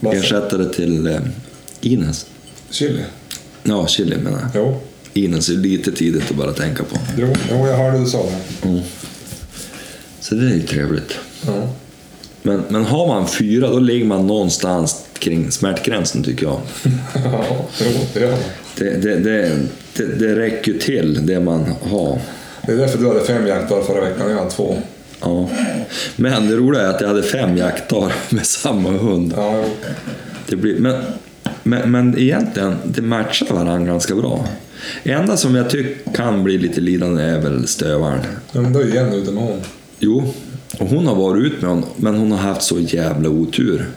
S2: Varför?
S1: ersättare till eh, Ines?
S2: Chili.
S1: Ja, Chili menar jag.
S2: Jo,
S1: Ines är lite tidigt att bara tänka på.
S2: jo, jo jag hörde du sa det.
S1: Så det är ju trevligt.
S2: Ja.
S1: Men, men har man fyra, då ligger man någonstans kring smärtgränsen tycker jag.
S2: ja, jo, det gör man.
S1: Det, det, det, det, det räcker ju till det man har.
S2: Det är därför du hade fem jaktdagar förra veckan, jag hade två.
S1: Ja. Men det roliga är att jag hade fem jaktdagar med samma hund.
S2: Ja, jo.
S1: Det blir, men, men, men egentligen, det matchar varandra ganska bra. enda som jag tycker kan bli lite lidande är väl stövaren.
S2: Ja, men då är ju Jenny ute med hon.
S1: Jo, och hon har varit ut med honom, men hon har haft så jävla otur.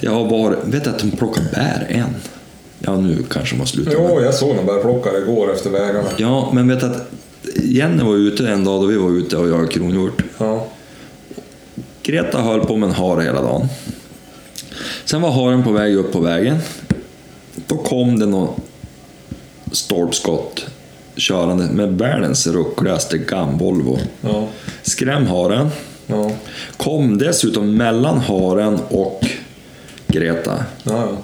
S1: Det har varit, vet du att hon plockar bär än? Ja, nu kanske hon har slutat. med-
S2: Jo, jag såg någon bärplockare igår efter vägarna.
S1: Ja, men vet du att Jenny var ute en dag då vi var ute och jagade kronhjort.
S2: Ja.
S1: Greta höll på med en hare hela dagen. Sen var haren på väg upp på vägen. Då kom det någon stolpskott körande med världens ruckligaste Volvo.
S2: Ja.
S1: Skräm haren.
S2: Ja.
S1: Kom dessutom mellan haren och Greta.
S2: Ja, ja.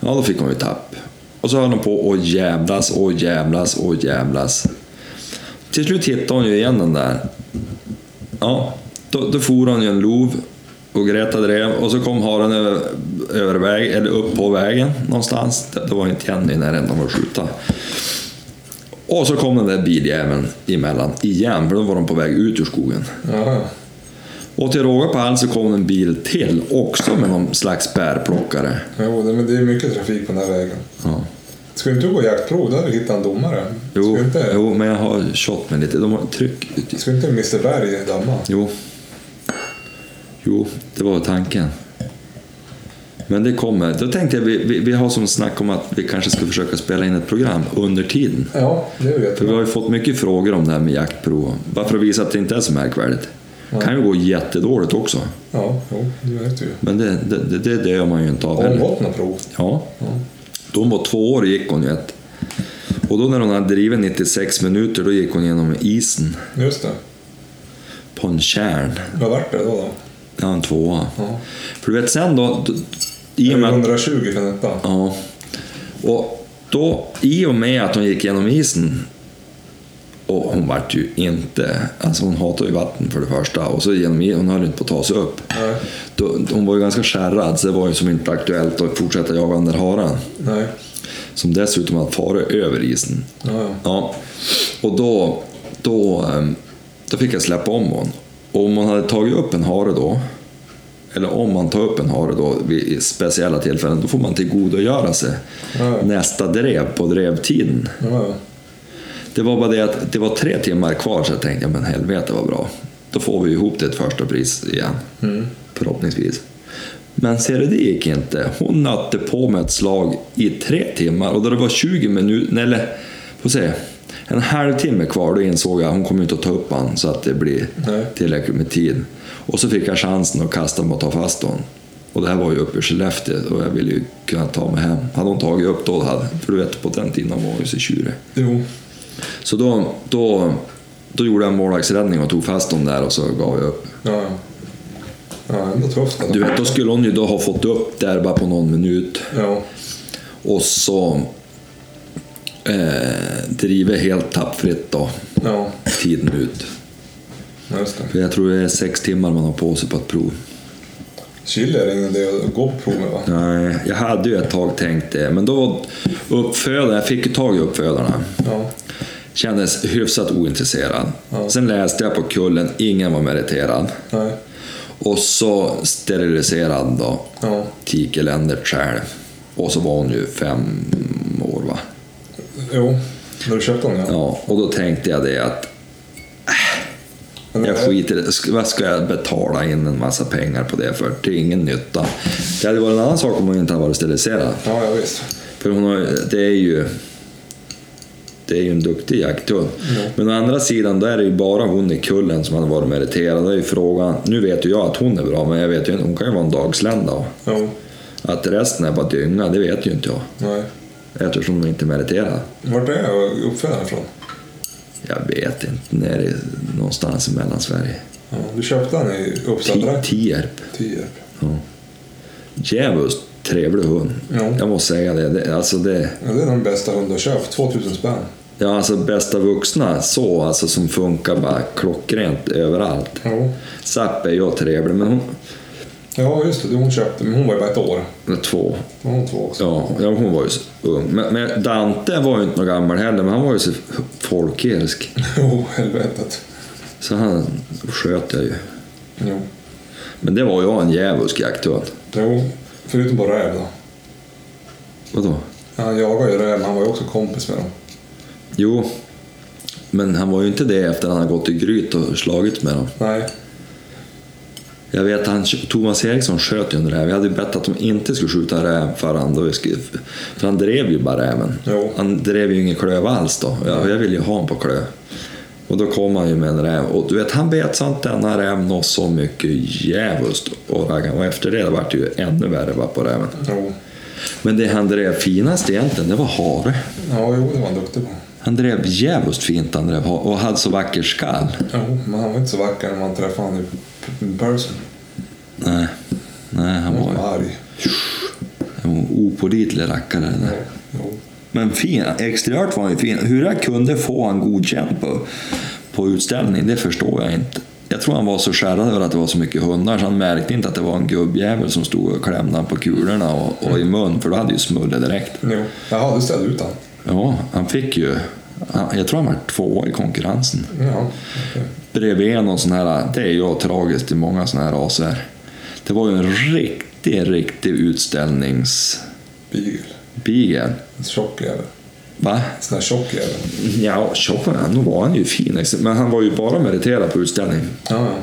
S1: Ja, då fick hon ju tapp. Och så höll hon på och jävlas och jävlas och jävlas. Till slut hittade hon ju igen den där. Ja, då, då for hon ju en lov och Greta drev och så kom haren över, över väg, eller upp på vägen någonstans. Det, det var inte Jenny när den var skjuta. Och så kom den där biljäveln emellan igen, för då var de på väg ut ur skogen.
S2: ja, ja.
S1: Och till råga på allt så kom en bil till, också med någon slags bärplockare.
S2: Jo, det- men det är mycket trafik på den här vägen.
S1: Ja.
S2: Ska inte du gå jaktprov? Då hade du hittat en domare.
S1: Jo,
S2: Ska inte,
S1: jo, men jag har shot mig lite. De har tryck.
S2: Ska inte Mr Berg damma?
S1: Jo. Jo, det var tanken. Men det kommer. Då tänkte jag, vi, vi, vi har som snack om att vi kanske ska försöka spela in ett program under tiden.
S2: Ja, det är ju
S1: För vi
S2: jättebra.
S1: har ju fått mycket frågor om det här med jaktprov. Bara för att visa att det inte är så märkvärdigt. Det kan ju gå jättedåligt också.
S2: Ja, jo, det vet du ju.
S1: Men det, det, det, det dör man ju inte av
S2: Har hon
S1: heller.
S2: gått några prov?
S1: Ja. Då hon var två år gick hon ju ett. Och då när hon hade drivit 96 minuter, då gick hon genom isen.
S2: Just det.
S1: på en kärn.
S2: Vad vart det då? då?
S1: Jag har en tvåa.
S2: Ja.
S1: För du vet sen då... d- I och med att,
S2: 120 för en etta.
S1: ja. Och då, i och med att hon gick genom isen Och hon vart ju inte... Alltså hon hatar ju vatten för det första och så genom hon höll inte på att ta sig upp.
S2: Nej.
S1: Då, hon var ju ganska skärrad så det var ju som inte aktuellt att fortsätta jaga den där haren.
S2: Nej.
S1: Som dessutom hade farit över isen.
S2: Ja, ja.
S1: Ja. Och då, då, ehm, då fick jag släppa om hon. Och om man hade tagit upp en hare då, eller om man tar upp en hare då vid i speciella tillfällen, då får man tillgodogöra sig
S2: Ja.
S1: nästa drev på drevtiden.
S2: Ja, ja.
S1: Det var bara det att det var tre timmar kvar så jag tänkte, ja men helvete vad bra. Då får vi ihop det ett första pris igen, förhoppningsvis. Men ser du, det gick inte. Hon nötte på med ett slag i tre timmar och då det var 20 minuter, nej, eller får se, en halvtimme kvar, då insåg jag att hon kommer inte att ta upp han så att det blir
S2: Nej.
S1: tillräckligt med tid. Och så fick jag chansen att kasta mig och ta fast hon. Och det här var ju uppe i Skellefteå och jag ville ju kunna ta mig hem. Hade hon tagit upp då hade, för du vet på den tiden var ju så tjurig.
S2: Jo.
S1: Så då, då, då gjorde jag en målvaktsräddning och tog fast dem där och så gav jag upp.
S2: Ja, ja. Ja, ändå tufft. Ändå.
S1: Du vet, då skulle hon ju då ha fått upp där bara på någon minut
S2: Ja.
S1: och så eh, driver helt tappfritt då,
S2: Ja.
S1: tiden ut.
S2: Ja, just det.
S1: För jag tror det är sex timmar man har på sig på ett prov.
S2: Chili är ingen idé att gå på prov med va?
S1: Nej, jag hade ju ett tag tänkt det, men då var uppfödarna, jag fick ju tag i uppfödarna.
S2: Ja.
S1: Kändes hyfsat ointresserad.
S2: Ja.
S1: Sen läste jag på kullen, ingen var meriterad.
S2: Nej.
S1: Och så steriliserad då.
S2: Ja.
S1: Tike Lennert själv. Och så var hon ju fem år va.
S2: Jo. När du köpte den ja.
S1: Ja, och då tänkte jag det att
S2: Men-
S1: jag skiter i det. Sk- Vad ska jag betala in en massa pengar på det för? Det är ingen nytta. Det hade varit en annan sak om hon inte hade varit steriliserad.
S2: Ja, ja visst.
S1: För hon har, ju- det är ju... Det är ju en duktig jakthund. Men å andra sidan, då är det ju bara hon i kullen som hade varit meriterad. Det är ju frågan. Nu vet ju jag att hon är bra, men jag vet ju inte. Hon kan ju vara en dagslända. och
S2: Jo.
S1: Att resten är bara dynga, det vet ju inte jag.
S2: Nej.
S1: Eftersom hon inte är meriterad.
S2: Vart är uppfödaren ifrån?
S1: Jag vet inte, nere i, någonstans i Mellansverige.
S2: Ja. Du köpte den i
S1: Ti-
S2: Uppsala?
S1: Tierp.
S2: Tierp.
S1: Djävulskt trevlig hund.
S2: Ja.
S1: Jag måste säga det. det, alltså det
S2: Ja, det är den bästa hund du har köpt. 2000 spänn.
S1: ja, alltså bästa vuxna så, alltså som funkar bara klockrent överallt.
S2: Jo.
S1: Zapp är ju trevlig, men hon...
S2: Ja, just det. det. Hon köpte, men hon var ju bara ett år.
S1: eller Två.
S2: Var Hon två också.
S1: Ja, ja, hon var ju så ung. Men, men Dante var ju inte någon gammal heller, men han var ju så folkelsk.
S2: Jo, helvetet.
S1: Så han sköt jag ju.
S2: Jo.
S1: Men det var ju en djävulsk jakthund.
S2: Jo. Förutom på räv då.
S1: Vadå?
S2: Han jagade ju räv, men han var ju också kompis med dem.
S1: Jo, men han var ju inte det efter att han hade gått i gryt och slagit med dem.
S2: Nej.
S1: Jag vet han, Thomas Eriksson sköt ju en räv. Jag hade ju bett att de inte skulle skjuta en räv för han, då vi skulle, för han drev ju bara räven.
S2: Jo.
S1: Han drev ju ingen klöv alls då. Och Jag, jag ville ju ha honom på klöv. Och då kom han ju med en räv. Och du vet, han bet sånt denna räv något så mycket djävulskt. Och, raggarn. och efter det vart det ju ännu värre bara på räven.
S2: Jo.
S1: Men det han drev finast egentligen, det var hare.
S2: Ja, jo, det var han duktig på.
S1: Han drev djävulskt fint han drev hare. Och hade så vacker skall.
S2: Jo, men han var inte så vacker när man träffade honom i p- in person.
S1: Nej, nej han
S2: Han
S1: var
S2: var
S1: ju
S2: arg.
S1: han var en opålitlig rackare. den där.
S2: Jo.
S1: Men fin, exteriört var han ju fin. Hur jag kunde få han godkänd på, på utställning, det förstår jag inte. Jag tror han var så skärrad över att det var så mycket hundar så han märkte inte att det var en gubbjävel som stod och klämde han på kulorna och, och i mun, för då hade ju smulle direkt.
S2: jo. Jaha, du ställde ut honom?
S1: Ja, han fick ju... han- Jag tror han var tvåa i konkurrensen.
S2: Ja. okej.
S1: bredvid någon sån här, det är ju tragiskt i många såna här raser. Det var ju en riktig, riktig utställningsbigel.
S2: Beagle. En tjock jävel.
S1: Va?
S2: En sån där tjock jävel.
S1: Ja, tjock var han. Nog var han ju fin. liksom. Men han var ju bara meriterad på utställning.
S2: Ja, ja.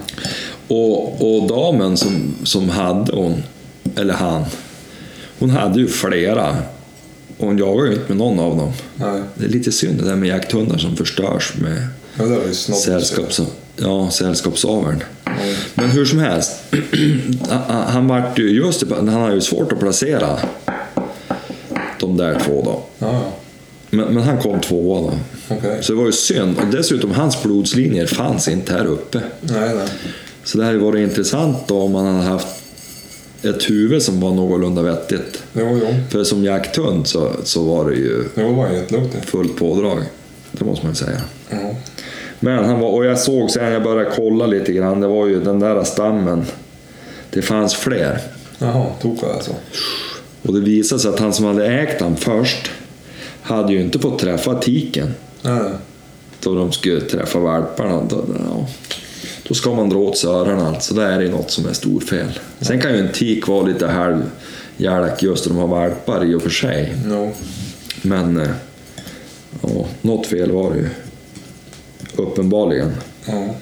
S1: Och, och damen som, som hade hon, eller han, hon hade ju flera. Och hon jagade ju inte med någon av dem.
S2: Nej.
S1: Det är lite synd det där med jakthundar som förstörs med
S2: Ja, det var ju snobb.
S1: Sällskaps, ja, sällskapsaveln.
S2: Mm.
S1: Men hur som helst, han- han- han vart ju just det, han har ju svårt att placera de där två då.
S2: Ja, ja.
S1: Men, men han kom tvåa då.
S2: Okej.
S1: Så det var ju synd. Och dessutom, hans blodslinjer fanns inte här uppe.
S2: Nej, nej.
S1: Så det hade ju varit intressant då om man hade haft ett huvud som var någorlunda vettigt.
S2: Jo, jo.
S1: För som jakthund så, så var det ju
S2: Jo, det var han jätteduktig.
S1: fullt pådrag. Det måste man ju säga. Men han var, och jag såg sen jag började kolla lite grann, det var ju den där stammen. Det fanns fler.
S2: Jaha, tokar alltså.
S1: Och det visade sig att han som hade ägt den först hade ju inte fått träffa tiken
S2: Nej, nej.
S1: då de skulle träffa valparna. Då, ja. då ska man dra åt sig öronen alltså, där är det något som är storfel. Sen kan ju en tik vara lite halvjälak just när de har valpar i och för sig.
S2: No.
S1: Men eh, ja, något fel var det ju. Uppenbarligen.
S2: Ja.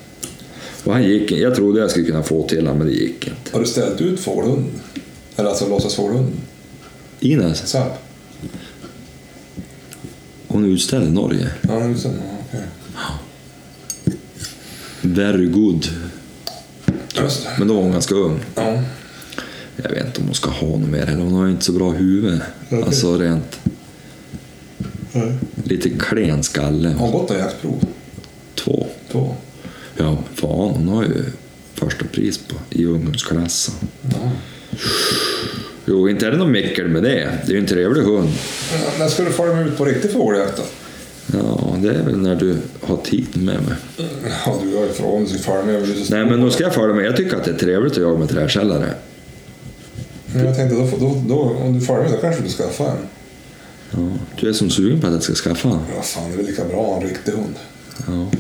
S1: Och han gick, jag trodde jag skulle kunna få till honom, men det gick inte.
S2: Har du ställt ut fårhunden? Eller alltså låtsasfårhunden?
S1: Ines,
S2: Zapp?
S1: hon är utställd i Norge.
S2: Ja, nu sen. Ja, okej.
S1: Very good.
S2: Just det.
S1: Men då var hon ganska ung.
S2: Ja.
S1: Jag vet inte om hon ska ha något mer heller. Hon har ju inte så bra huvud.
S2: Okej.
S1: Alltså rent lite klen skalle.
S2: Har gått något jaktprov?
S1: Två.
S2: Två?
S1: Ja, fan hon har ju första pris på, i ungdomsklassen.
S2: Ja.
S1: Jo, inte är det någon mickel med det. Det är ju en trevlig hund.
S2: Men När ska du fara med ut på riktig fågeljakt då?
S1: Ja, det är väl när du har tid med mig.
S2: Ja, du har ifrån. Du ska fara med. men du är så stor.
S1: Nej, men då ska jag följa med. Jag tycker att det är trevligt att jaga med träkällare.
S2: Men jag tänkte, då, får- då, då, om du följer med då kanske du skaffar en.
S1: Ja. Du är som sugen på att jag ska skaffa en.
S2: Men Vad fan, det är väl lika bra en riktig hund?
S1: Ja.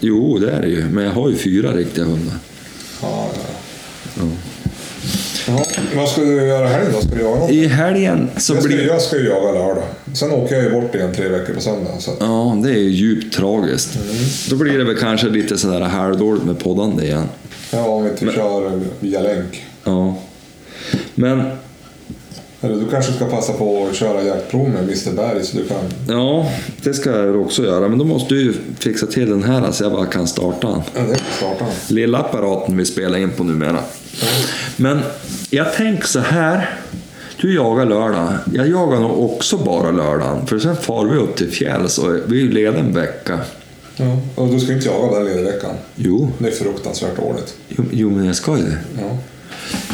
S1: Jo, det är det ju. Men jag har ju fyra riktiga hundar.
S2: Ja, ja. Ja. Vad ska du göra helgen då? Ska du jaga något?
S1: I helgen så
S2: Jag ska,
S1: blir...
S2: jag ska ju jaga lördag. Sen åker jag ju bort igen tre veckor på söndag. Så att,
S1: Ja, det är ju djupt tragiskt. Då blir det väl kanske lite sådär halvdåligt med poddande igen.
S2: ja, om vi inte kör via länk.
S1: Ja. Men
S2: Eller du kanske ska passa på att köra jaktprov med Mr Berg så du kan...
S1: Ja, det ska jag också göra. Men då måste du ju fixa till den här så jag bara kan starta den.
S2: Ja, det kan starta.
S1: Lilla apparaten vi spelar in på numera. Men jag tänker så här. Du jagar lördag. Jag jagar nog också bara lördagen. För sen far vi upp till fjälls och vi är ju lediga en vecka.
S2: Ja. Och du ska inte jaga den lediga veckan.
S1: Jo,
S2: Det är fruktansvärt dåligt.
S1: jo, jo men jag ska ju det.
S2: Ja.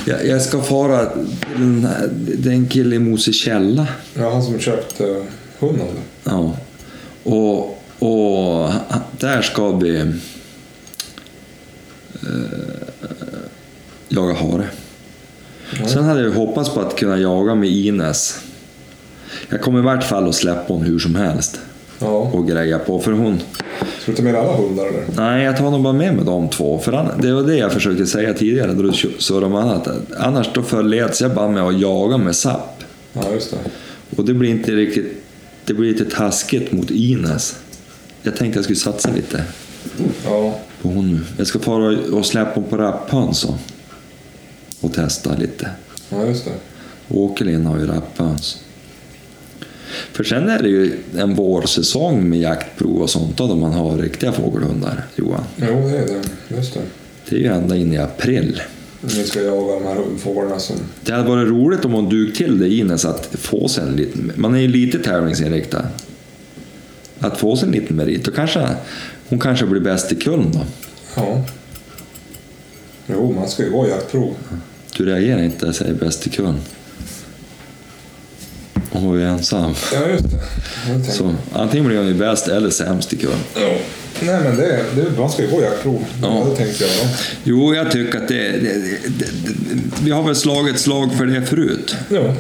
S1: Jag, jag ska fara till den, här- den killen i Mosekälla.
S2: Ja, han som köpt eh, hunden. eller?
S1: Ja. Och, och där ska vi eh, jaga hare. Sen hade jag ju hoppats på att kunna jaga med Ines. Jag kommer i vart fall att släppa hon hur som helst
S2: Ja.
S1: och greja på. För hon...
S2: Ska du ta med alla hundar eller?
S1: Nej, jag tar nog bara med mig de två. För an- det var det jag försökte säga tidigare då du surrade om annat. Annars då förleds jag bara med att jaga med Zapp.
S2: Ja, just det.
S1: Och det blir inte riktigt... Det blir lite taskigt mot Ines. Jag tänkte jag skulle satsa lite
S2: Ja.
S1: på hon nu. Jag ska fara och släppa hon på rapphöns och, och testa lite.
S2: Ja, just det.
S1: Åkerlind har ju rapphöns. För sen är det ju en vårsäsong med jaktprov och sånt då, då man har riktiga fågelhundar, Johan.
S2: Jo, det är det. Just det.
S1: Det är ju ända in i april.
S2: Ni ska jaga de här fåglarna som...
S1: Det hade varit roligt om hon dug till det Ines att få sig en liten... Man är ju lite tävlingsinriktad. Att få sig en liten merit. Då kanske, hon kanske blir bäst i kullen då.
S2: Ja. Jo, man ska ju gå jaktprov.
S1: Du reagerar inte, jag säger bäst i kullen. Och Hon är ensam.
S2: Ja, just det. Jag tänkte-
S1: Så antingen blir hon ju bäst eller sämst i kullen.
S2: Ja. Nej, men det, det, man ska ju gå jaktprov.
S1: Ja.
S2: Ja. Det tänkte jag.
S1: Jo, jag tycker att det, det, det, det, Vi har väl slagit ett slag för det förut.
S2: Ja.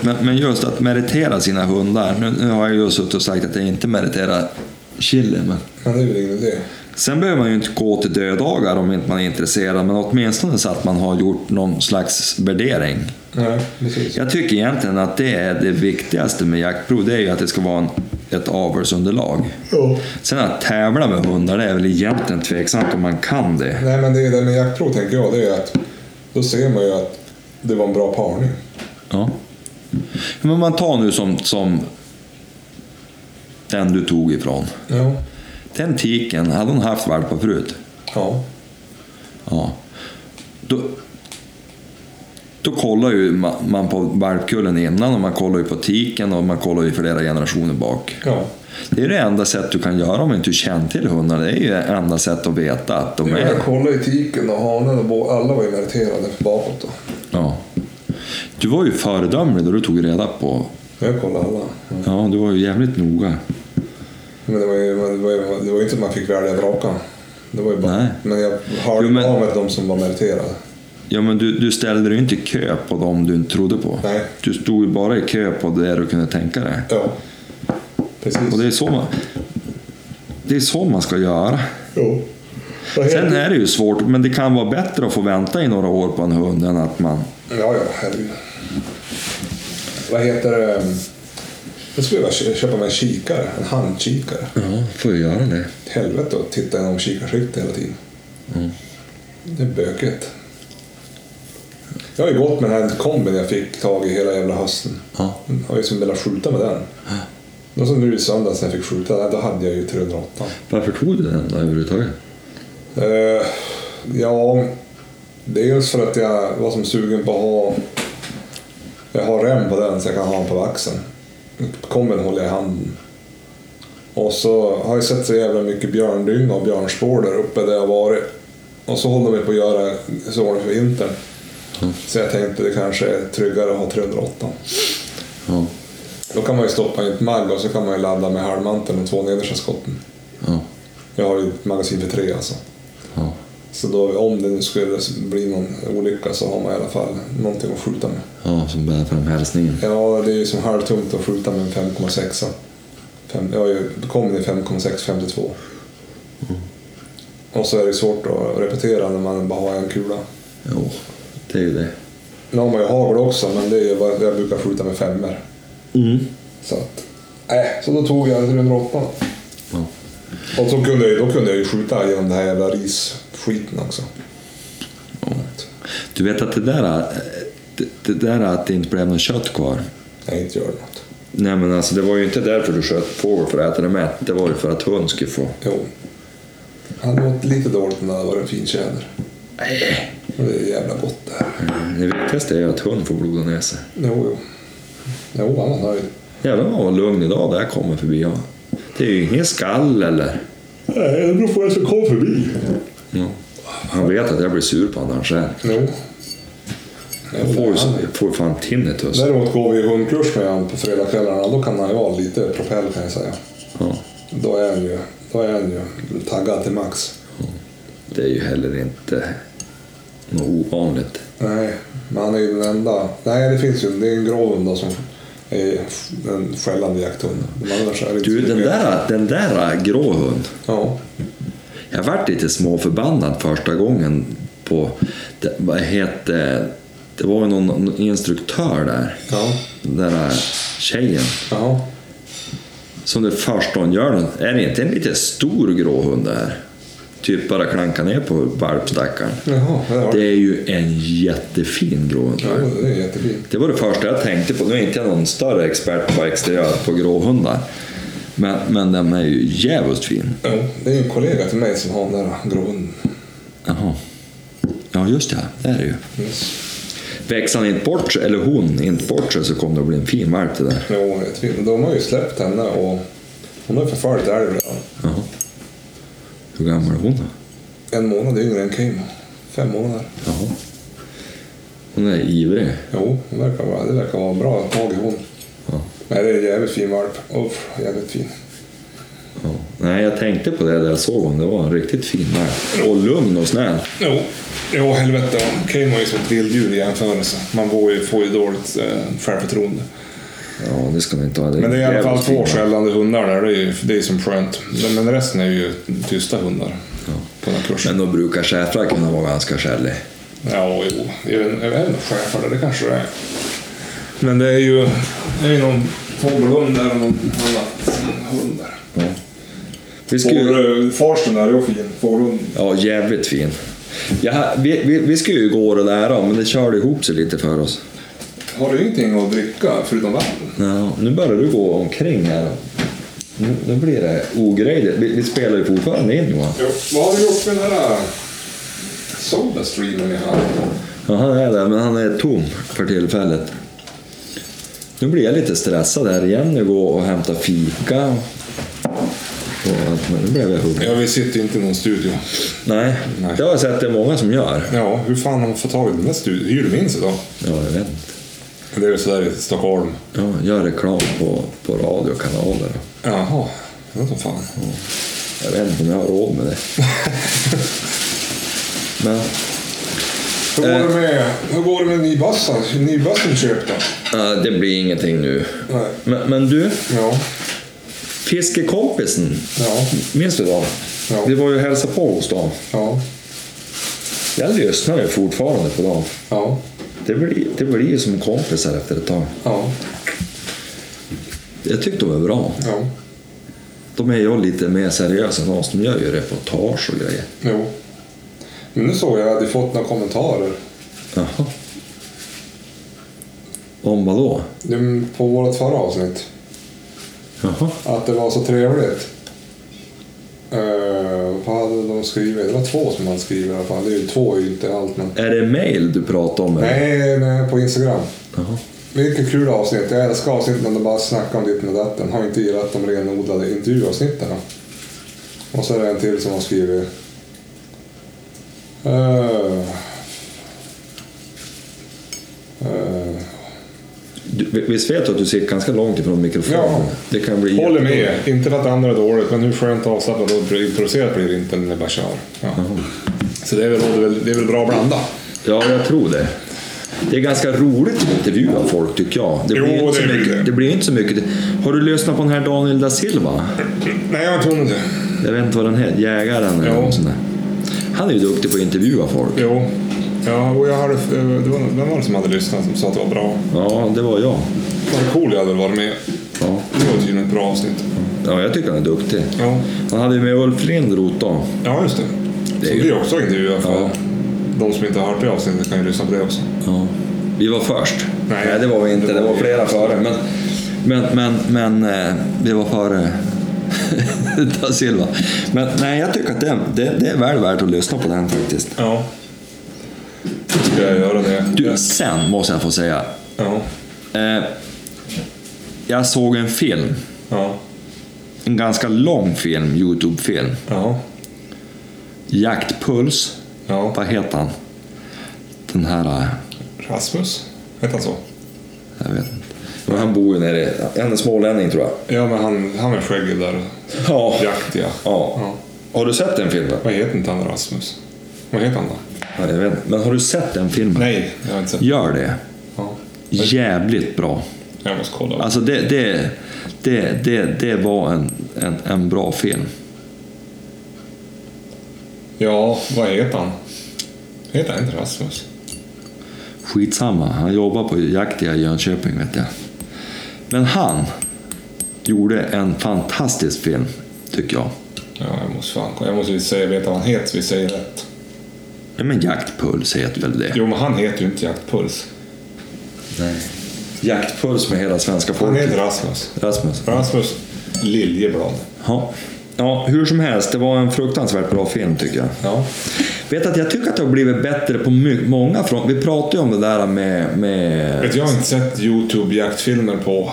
S1: Men, men just att meritera sina hundar. Nu, nu har jag ju suttit och sagt att jag inte meriterar Chili, men...
S2: Men det är väl ingen idé.
S1: Sen behöver man ju inte gå till dödagar om inte man är intresserad, men åtminstone så att man har gjort någon slags värdering.
S2: Nej, precis.
S1: Jag tycker egentligen att det är det viktigaste med jaktprov, det är ju att det ska vara en, ett avelsunderlag.
S2: Ja.
S1: Sen att tävla med hundar, det är väl egentligen tveksamt om man kan det.
S2: Nej, men det är det med jaktprov tänker jag. Det är att då ser man ju att det var en bra parning.
S1: Ja. Men man tar nu som, som den du tog ifrån.
S2: Ja.
S1: Den tiken, hade hon haft valpar förut?
S2: Ja.
S1: Ja. Då, då kollar ju ma- man på valpkullen innan och man kollar ju på tiken och man kollar ju flera generationer bak.
S2: Ja.
S1: Det är det enda sätt du kan göra om du inte känner till hundarna. Det är ju det enda sätt att veta att de är...
S2: Jag kollade i tiken och hanen och bo- alla var ju meriterade bakåt då.
S1: Ja. Du var ju föredömlig då du tog reda på...
S2: Jag kollade alla.
S1: Ja, du var ju jävligt noga.
S2: Men det var ju, men det var ju, det var ju inte att man fick välja vraka. Det var ju bara,
S1: Nej.
S2: Men jag hörde
S1: Jo, men-
S2: av mig till de som var meriterade.
S1: Ja, men du, du ställde dig ju inte i kö på dem du inte trodde på.
S2: Nej.
S1: Du stod ju bara i kö på det du kunde tänka dig.
S2: Ja, precis.
S1: Och det är så man, det är så man ska göra.
S2: Jo. Vad heter-
S1: Sen är det ju svårt, men det kan vara bättre att få vänta i några år på en hund än att man...
S2: Ja, ja, herregud. Vad heter ehm, det? Jag skulle vilja kö- köpa mig en kikare, en handkikare.
S1: Ja, får ju göra det.
S2: Helvete att titta genom kikarskiktet hela tiden.
S1: Mm.
S2: Det är bökigt. Jag har ju gått med den här kombin jag fick tag i hela jävla hösten.
S1: Ja.
S2: Jag har ju som velat skjuta med den. Och så nu i söndags när jag fick skjuta, då hade jag ju 308.
S1: Varför tog du den då överhuvudtaget?
S2: Eh, ja, dels för att jag var som sugen på att ha... Jag har rem på den så jag kan ha den på axeln. Komben håller jag i handen. Och så har jag sett så jävla mycket björndynga och björnspår där uppe där jag varit. Och så håller vi på att göra så ordning för vintern. Så jag tänkte det kanske är tryggare att ha 308.
S1: Ja,
S2: Då kan man ju stoppa i ett mag och så kan man ju ladda med halvmanteln och två nedersta skotten.
S1: ja,
S2: Jag har ju ett magasin för tre alltså.
S1: ja.
S2: Så då, om det nu skulle bli någon olycka så har man i alla fall någonting att skjuta med.
S1: ja som bär fram hälsningen.
S2: Ja, det är ju som halvtungt att skjuta med en 5,6. Fem, jag har ju kommit i 5,6, 52. Och så är det svårt att repetera när man bara har en kula.
S1: Jo, det är ju det.
S2: Nu har man ju hagel också, men det är ju vad jag brukar skjuta med femmer.
S1: Mm.
S2: Så att, äh, så då tog jag 308.
S1: Ja.
S2: Och så kunde jag, ju- då kunde jag ju skjuta genom den här jävla risskiten också.
S1: Du vet att det där, eh, det, det där att det inte blev något kött kvar.
S2: Nej, inte gör det något.
S1: Nej men alltså det var ju inte därför du sköt fågel för att äta det mätt. Det var ju för att hund skulle få.
S2: Jo. Han mått lite dåligt när det hade varit en fin tjäder. Och det är jävla gott det här.
S1: Det viktigaste är ju att hund får blod och näsa.
S2: Jo, jo. Jo, han var nöjd.
S1: Jävlar vad lugn idag där kommer förbi. Ja. Det är ju inget skall eller...
S2: Nej, det beror på vem som kom förbi.
S1: Ja. Han vet att jag blir sur på honom själv.
S2: Jo.
S1: Jag får ju så-
S2: han-
S1: jag får ju fan tinnitus.
S2: Däremot går vi ju hundkurs med honom på fredagskvällarna. Då kan han ju vara lite propell kan jag säga.
S1: Ja.
S2: Då är han ju, då är han ju taggad till max.
S1: Det är ju heller inte något ovanligt.
S2: Nej, men han är ju den enda. Nej, det finns ju. Det är en grå hund då som är en skällande jakthund. De andra så är det inte
S1: Du,
S2: så
S1: den
S2: mycket.
S1: där, den där grå hund.
S2: Ja.
S1: Jag vart lite småförbannad första gången på, det, vad hette, det var ju någon, någon instruktör där,
S2: Ja.
S1: den där tjejen.
S2: Jaha.
S1: Som det första hon gör, den- är det inte en lite stor grå hund det här? Typ bara klanka ner på valpstackaren.
S2: Jaha, det var
S1: Det är ju en jättefin grå hund.
S2: Ja, det är jättefint.
S1: Det var det första jag tänkte på. Nu är inte jag någon större expert på exteriör på gråhundar. Men, men den är ju jävligt fin.
S2: Jo, Det är ju en kollega till mig som har den där grön.
S1: Jaha. Ja, just det. Det är det ju. Växer han inte bort sig, eller hon inte bort sig, så kommer det att bli en fin valp det där.
S2: Jo, jättefin. De har ju släppt henne och hon har ju förföljt älg redan.
S1: Jaha. Hur gammal är hon då?
S2: En månad yngre än Kim. Fem månader.
S1: Jaha. Hon är ivrig.
S2: Jo, hon verkar vara, det verkar vara bra tag i hon.
S1: Ja.
S2: Nej, det är en jävligt fin valp. Uff, jävligt fin.
S1: Ja. Nej, jag tänkte på det där jag såg hon. Det var en riktigt fin valp. Och lugn och snäll.
S2: Jo, jo helvete. Kim var ju som ett vilddjur i jämförelse. Man får ju, får ju dåligt eh, självförtroende.
S1: Ja, det ska man inte ha.
S2: Men det är i alla fall
S1: jävligt fin
S2: två
S1: valp.
S2: skällande hundar där. Det är ju det är som skönt. Men resten är ju tysta hundar på den här kursen.
S1: Men då brukar schäfrar kunna vara ganska skällig.
S2: Ja, jo. Jag vet inte- jag vet inte schäfer, det kanske det är. Men det är ju, det är ju någon fågelhund där och någon annat hund där.
S1: Vi ska ju...
S2: Fågel- Farsten där är ju fin. Fågelhund.
S1: Ja, jävligt fin. Ja, vi, vi, vi skulle ju gå och det där om, men det körde ihop sig lite för oss.
S2: Har du ingenting att dricka förutom vatten?
S1: Ja, nu börjar du gå omkring här. Nu, nu blir det ogrejligt. Vi, vi spelar ju fortfarande in Johan.
S2: Jo. Vad har du gjort med den här Sodastreamen i handen?
S1: Ja, han är där, men han är tom för tillfället. Nu blir jag lite stressad här igen. Nu går och hämtar fika. Och allt, men nu blev jag hungrig.
S2: Ja, vi sitter inte i någon studio.
S1: Nej,
S2: Nej.
S1: det har jag sett det är många som gör.
S2: Ja, hur fan har man fått tag i den där studion? Hyr du minst idag?
S1: Ja, jag vet inte.
S2: Det är ju sådär i Stockholm.
S1: Ja, gör reklam på, på radiokanaler.
S2: Jaha. Det var som fan.
S1: Jag vet inte om jag har råd med det. Men
S2: Hur går det med, hur går det med nybassan? Nybassan köpte?
S1: eh, det blir ingenting nu.
S2: Nej.
S1: Men, men du,
S2: Ja.
S1: fiskekompisen.
S2: Ja.
S1: Minns du dem?
S2: Ja.
S1: Vi var ju och hälsade på hos dem.
S2: Ja.
S1: Jag lyssnar ju fortfarande på dem.
S2: Ja.
S1: Det blir, det blir ju som kompisar efter ett tag.
S2: Ja.
S1: Jag tyckte de var bra.
S2: Ja.
S1: De är ju lite mer seriösa än oss. De gör ju reportage och grejer.
S2: Jo. Men nu såg jag att jag hade fått några kommentarer.
S1: Jaha. Om vad då?
S2: Det är På vårt förra avsnitt.
S1: Jaha.
S2: Att det var så trevligt. Eh, vad hade de skrivit? Det var två som hade skrivit i alla fall. Det är ju två är ju inte allt men.
S1: Är det mail du pratar om? eller?
S2: Nej, nej, på Instagram.
S1: Jaha.
S2: Vilket kul avsnitt. Jag älskar avsnitten när de bara snackar om ditt och datten. Har inte gillat de renodlade intervjuavsnitten. Och så är det en till som har skrivit... eh, eh,
S1: Du, vi- visst vet du att du sitter ganska långt ifrån mikrofonen?
S2: Ja.
S1: Det kan bli
S2: Håller
S1: jätte-
S2: med. Inte för att det andra är dåligt, men hur skönt avslappnat och improviserat blir det inte när det bara kör. Ja. Så det är, väl, det är väl bra att blanda.
S1: Ja, jag tror det. Det är ganska roligt att intervjua folk tycker jag. Det
S2: Jo,
S1: inte så
S2: det blir
S1: mycket,
S2: det.
S1: det blir inte så mycket. Har du lyssnat på den här Daniel da Silva?
S2: Nej, jag tror inte.
S1: Jag vet inte vad den heter. Jägaren eller
S2: Ja.
S1: något sånt där. Han är ju duktig på att intervjua folk.
S2: Jo. Ja, och jag hade, det var, vem var det som hade lyssnat som sa att det var bra?
S1: Ja, det var jag.
S2: Vad cool jag hade varit med.
S1: Ja,
S2: Det var tydligen ett bra avsnitt.
S1: ja jag tycker han är duktig.
S2: Ja,
S1: Han hade ju med Ulf Lindroth då.
S2: ja just det.
S1: Det är
S2: Som
S1: ju-
S2: vi också intervjuade för.
S1: Ja.
S2: De som inte har hört det avsnittet kan ju lyssna på det också.
S1: Ja. Vi var först.
S2: Nej.
S1: det var vi inte. Det var flera före. Men, men, men, men eh, vi var före da Silva. Men nej, jag tycker att det, det, det är väl värt att lyssna på den faktiskt.
S2: Ja. Då ska jag göra det.
S1: Du, sen måste jag få säga.
S2: Ja.
S1: Eh, jag såg en film.
S2: Ja.
S1: En ganska lång film, Youtube-film.
S2: Ja.
S1: Jaktpuls.
S2: Ja.
S1: Vad heter han? Den här... eh,
S2: Rasmus? Hette han så?
S1: Jag vet inte. Men han bor ju nere i... Han är smålänning tror jag.
S2: Ja, men han, han med skägget där.
S1: Ja.
S2: Jakt, ja.
S1: ja.
S2: Ja.
S1: Har du sett den filmen?
S2: Vad heter inte han Rasmus? Vad heter han då?
S1: Ja, jag vet inte. Men har du sett den filmen?
S2: Nej, jag har inte sett.
S1: Gör det.
S2: Ja.
S1: Jävligt bra.
S2: Jag måste kolla.
S1: Alltså det, det, det, det, det var en, en, en bra film.
S2: Ja, vad heter han? Heter han inte Rasmus?
S1: Skitsamma, han jobbar på Jaktia i Jönköping vet jag. Men han gjorde en fantastisk film, tycker jag.
S2: Ja, jag måste fan kolla. Jag måste ju säga, veta vad han heter så vi säger rätt.
S1: Ja, men Jaktpuls heter väl det?
S2: Jo, men han heter ju inte Jaktpuls.
S1: Jaktpuls med hela svenska
S2: Han
S1: folket.
S2: heter Rasmus.
S1: Rasmus.
S2: Rasmus Liljeblad.
S1: Ja. ja, hur som helst, det var en fruktansvärt bra film tycker jag.
S2: Ja.
S1: Vet att jag tycker att det har blivit bättre på my- många fronter. Vi pratade ju om det där med... med...
S2: Vet, jag har inte sett Youtube-jaktfilmer på...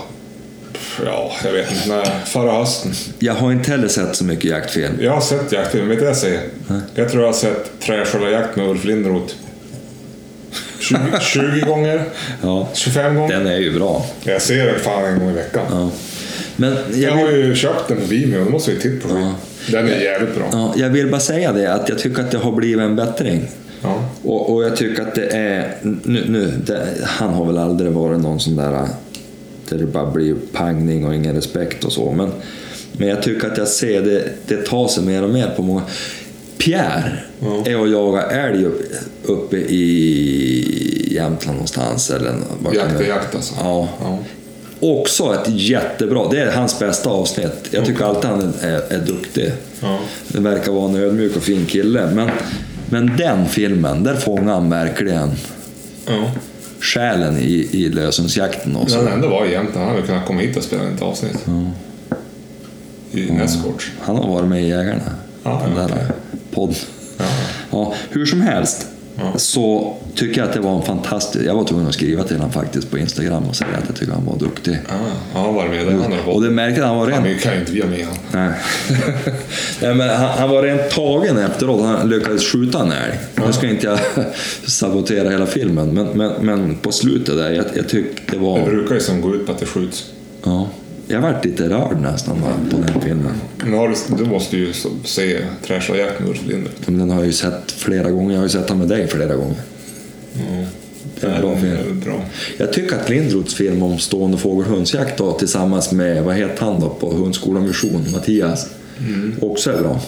S2: pff, Ja, jag vet inte. När, förra hösten.
S1: Jag har inte heller sett så mycket jaktfilm.
S2: Jag har sett jaktfilm, vet du vad jag säger? Jag tror jag har sett Träskölarjakt med Ulf Lindroth. 20, 20 gånger?
S1: Ja,
S2: 25 gånger?
S1: den är ju bra.
S2: Jag ser den fan en gång i veckan.
S1: Ja. Men
S2: Jag
S1: jag
S2: har
S1: vill,
S2: ju köpt den på Vimeo, då måste vi titta på den. Den är jävligt bra.
S1: ja, jag vill bara säga det, att jag tycker att det har blivit en bättring.
S2: Ja.
S1: Och, och jag tycker att det är... Nu, nu, det, han har väl aldrig varit någon sån där äh, där det bara blir pangning och ingen respekt och så. Men, men jag tycker att jag ser det, det tar sig mer och mer på många... Pierre är och jagar älg upp, uppe i Jämtland någonstans. Eller vad kan
S2: Jakt
S1: det-
S2: är jakt alltså.
S1: Ja.
S2: Ja.
S1: Också ett jättebra, det är hans bästa avsnitt. Jag tycker alltid han är, är duktig.
S2: Ja.
S1: Det verkar vara en ödmjuk och fin kille. Men, men den filmen, där fångar han verkligen
S2: Ja.
S1: själen i, i lösensjakten. Och
S2: Men
S1: så.
S2: han ändå var i Jämtland, han hade kunnat komma hit och spela ett avsnitt. I nästgårds.
S1: Han har varit med i Jägarna,
S2: Ja,
S1: den där eh,
S2: okej.
S1: podden.
S2: Ja.
S1: Ja, hur som helst
S2: Ja.
S1: så tycker jag att det var en fantastisk... Jag var tvungen att skriva till honom faktiskt på Instagram och säga att jag tycker han var duktig.
S2: Ja, han var med där. Han hade
S1: Och
S2: fått.
S1: det märkte han var
S2: Ja,
S1: rent
S2: men det kan ju inte vi ha med han.
S1: Nej. Nej, men han, han var rent tagen efteråt. Han lyckades skjuta en älg. Nu ska inte jag sabotera hela filmen, men, men, men på slutet där, jag, jag tyckte
S2: Det
S1: det var...
S2: brukar ju som gå ut på att det skjuts.
S1: Ja. jag vart lite rörd nästan va, på den filmen.
S2: Men har du, du måste ju så- se Trash och Jack med Ulf Lindgren.
S1: Men Den har jag ju sett flera gånger. Jag har ju sett den med dig flera gånger. Det är en bra film.
S2: är bra.
S1: Jag tycker att Lindroths film om stående fågel och hönsjakt då, tillsammans med, vad heter han då, på Hundskola Mission, Mattias, också är bra.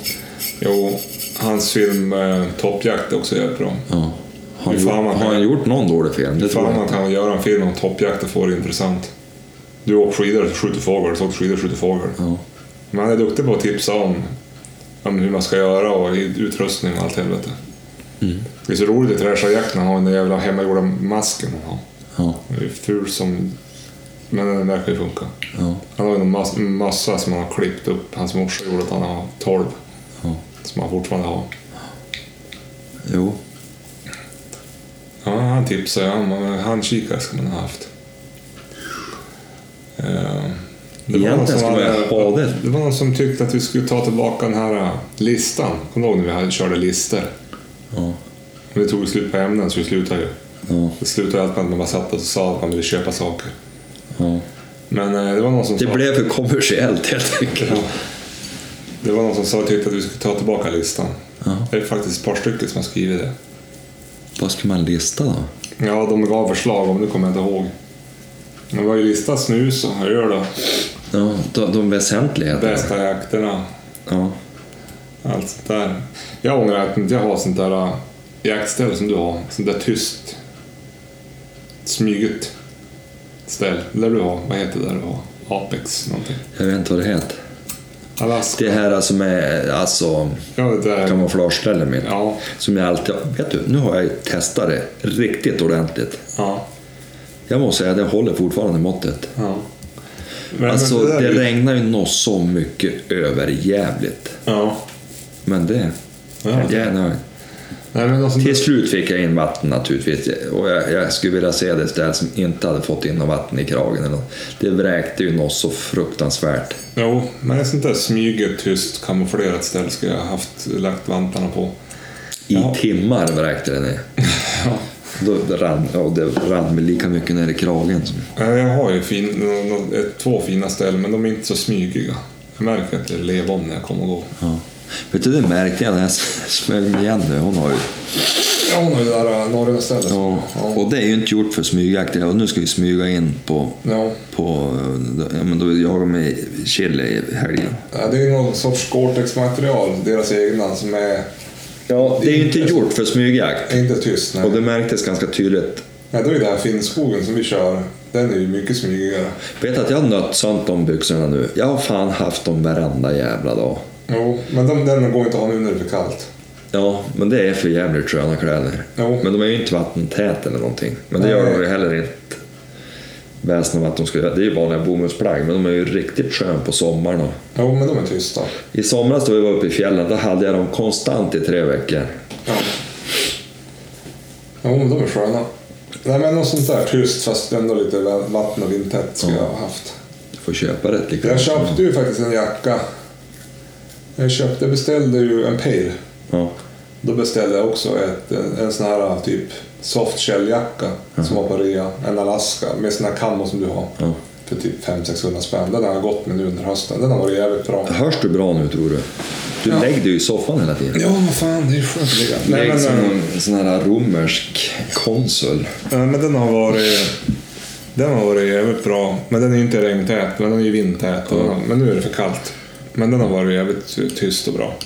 S2: Jo, hans film eh, Toppjakt är också jävligt bra.
S1: Ja. Har, han
S2: Hur
S1: gjort,
S2: fan man kan-
S1: har han gjort någon dålig film? Det tror
S2: Fan
S1: jag.
S2: man kan göra en film om toppjakt och få det intressant. Du åker skidor och skjuter fågel, så åker skidor och skjuter fågel.
S1: Ja.
S2: Men han är duktig på att tipsa om, om hur man ska göra och i- utrustning och allt helvete.
S1: Mm.
S2: Det är så roligt i Träscha Jack när han har den där jävla hemmagjorda masken han har.
S1: Ja,
S2: Den är ful som... Men den verkar ju funka.
S1: ja,
S2: Han har ju en mas- massa som han har klippt upp. Hans morsa gjorde att han har 12.
S1: Ja.
S2: Som han fortfarande har.
S1: jo.
S2: Ja, han tipsade. Han, han kikar ska man ha haft. Eh, Det var,
S1: Egentligen
S2: någon som
S1: skulle
S2: hade,
S1: jag ha det.
S2: det var någon som tyckte att vi skulle ta tillbaka den här eh, listan. Kommer du ihåg när vi hade, körde listor?
S1: Ja,
S2: Men det tog slut på ämnen så vi slutade ju.
S1: ja,
S2: Det slutade allt med att man bara satt och sa att man ville köpa saker.
S1: ja.
S2: Men eh, det var någon som
S1: Det
S2: sa...
S1: blev för kommersiellt helt
S2: Ja.
S1: enkelt.
S2: Det var någon som sa tyckte att vi skulle ta tillbaka listan.
S1: Ja.
S2: Det är faktiskt ett par stycken som har skrivit det.
S1: Vad ska man lista då?
S2: Ja, de gav förslag om det kommer jag inte ihåg. Men det var ju lista snus och öl då.
S1: Ja, de, de väsentligheterna.
S2: Bästa jakterna.
S1: Ja.
S2: Allt sånt där. Jag ångrar att inte jag har sånt där äh, jaktställe som du har. Sånt där tyst, smyget ställ. Det där du har. Vad heter det där du har? Apex någonting.
S1: Jag vet inte vad det heter.
S2: Alaska.
S1: Det här som är alltså
S2: Ja, det där.
S1: kamouflagestället mitt.
S2: Ja,
S1: Som jag alltid... Vet du, nu har jag ju testat det riktigt ordentligt.
S2: ja,
S1: Jag måste säga att det håller fortfarande måttet.
S2: ja. Men,
S1: Alltså
S2: där
S1: det
S2: är ju-
S1: regnar ju något så mycket överjävligt.
S2: Ja.
S1: Men det...
S2: Ja.
S1: Jag är nöjd.
S2: Nej, men alltså,
S1: Till slut fick jag in vatten naturligtvis. Och jag, jag skulle vilja se det ställe som inte hade fått in något vatten i kragen. Eller något. Det vräkte ju något så fruktansvärt.
S2: Jo, men ett sånt där smyget, tyst, kamouflerat ställe skulle jag haft lagt vantarna på.
S1: I
S2: Jaha.
S1: timmar vräkte det ner. Då rann, ja, det rann väl lika mycket ner i kragen. Som,
S2: Eh, Jag har ju fin, nå- nå- ett, två fina ställen, men de är inte så smygiga. Jag märker att det lever om när jag kommer och går.
S1: ja. Vet du, det märkte jag när jag smög mig igen nu. Hon har ju
S2: Ja, hon har ju det där eh, norra stället.
S1: Ja,
S2: Ja.
S1: och det är ju inte gjort för smygjakt. Ja, nu ska vi smyga in på...
S2: Ja.
S1: på eh, ja, men då jagar jag med chili i helgen.
S2: Ja, Äh, Det är någon sorts Gore-Tex-material, deras egna, som är
S1: Ja, det är ju inte gjort för smygjakt.
S2: är inte tyst. Nej.
S1: Och det märktes ganska tydligt.
S2: Nej, då är det här Finnskogen som vi kör. Den är ju mycket smygigare.
S1: Vet att jag har nött sönt de byxorna nu. Jag har fan haft dem varenda jävla dag.
S2: Jo, men den, den går inte att ha nu när det blir kallt.
S1: Ja, men det är för jävligt sköna kläder.
S2: Jo.
S1: Men de är ju inte vattentäta eller någonting. Men det gör
S2: Nej.
S1: de ju heller inte väsen om att de ska göra. Det är ju vanliga bomullsplagg, men de är ju riktigt sköna på sommaren. Och
S2: Jo, men de är tysta.
S1: I somras då vi var uppe i fjällen, då hade jag dem konstant i tre veckor.
S2: Ja. Jo, men de är sköna. Nej, men något sånt där tyst fast ändå lite vatten och vindtätt skulle jag ha haft.
S1: Du får köpa rätt likadant.
S2: Jag köpte ju faktiskt en jacka. Jag köpte, jag beställde ju en pale.
S1: Ja.
S2: Då beställde jag också ett, en, en sån här typ soft shell-jacka som var på rea. En Alaska med såna kammo som du har.
S1: Ja.
S2: För typ 500-600 spänn. Den har jag gått med nu under hösten. Den har varit jävligt bra.
S1: Hörs du bra nu tror du? Du
S2: Ja.
S1: lägger dig i soffan hela tiden.
S2: Ja, vad fan, det är ju skönt att ligga. Nej,
S1: Lägg
S2: men,
S1: som
S2: eh,
S1: en sån här romersk konsul.
S2: Nej, Eh, men den har varit... Den har varit jävligt bra. Men den är ju inte regntät, men den är ju vindtät. och den har- Men nu är det för kallt. Men den har varit jävligt tyst och bra.
S1: Ja,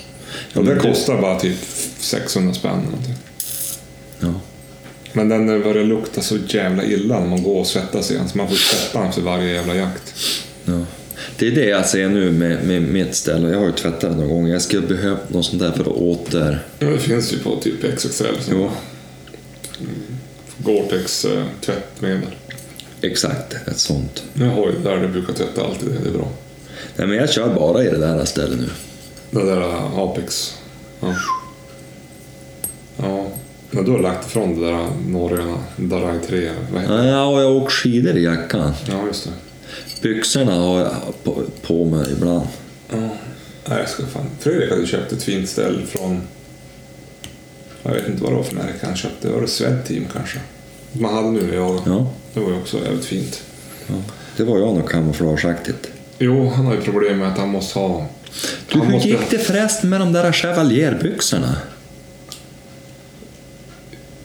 S2: den
S1: men det-
S2: kostar bara typ 600 spänn. eller någonting.
S1: Ja.
S2: Men den börjar lukta så jävla illa när man går och svettas igen. Så man får tvätta den för varje jävla jakt.
S1: Ja. Det är det jag ser nu med, med mitt ställe. Jag har ju tvättat det någon gång. Jag skulle behöva något sånt där för att åter...
S2: Ja, det finns ju på typ XXL. så-
S1: Jo,
S2: Gore-Tex eh, tvättmedel.
S1: exakt. Ett sånt.
S2: Jag har ju det där, det brukar tvätta alltid. Det är bra.
S1: Nej, men jag kör bara i det där stället nu.
S2: Den där äh, Apex. Ja. ja. Men du har lagt ifrån det där äh, norröna Darai 3. Vad heter det?
S1: Ja, och jag har åkt skidor i jackan.
S2: Ja, just det.
S1: Byxorna har jag på, på mig ibland.
S2: Nej, jag ska fan. Fredrik hade köpt ett fint ställ från... Jag vet inte vad det var för märke han köpte. Var det Swed Team kanske? Man hade nu i år.
S1: Ja,
S2: Det var ju också jävligt fint.
S1: det var jag nog kamouflageaktigt.
S2: Jo, han har ju problem med att han måste ha...
S1: Du,
S2: han
S1: hur
S2: måste,
S1: gick det förresten med de där chevalierbyxorna?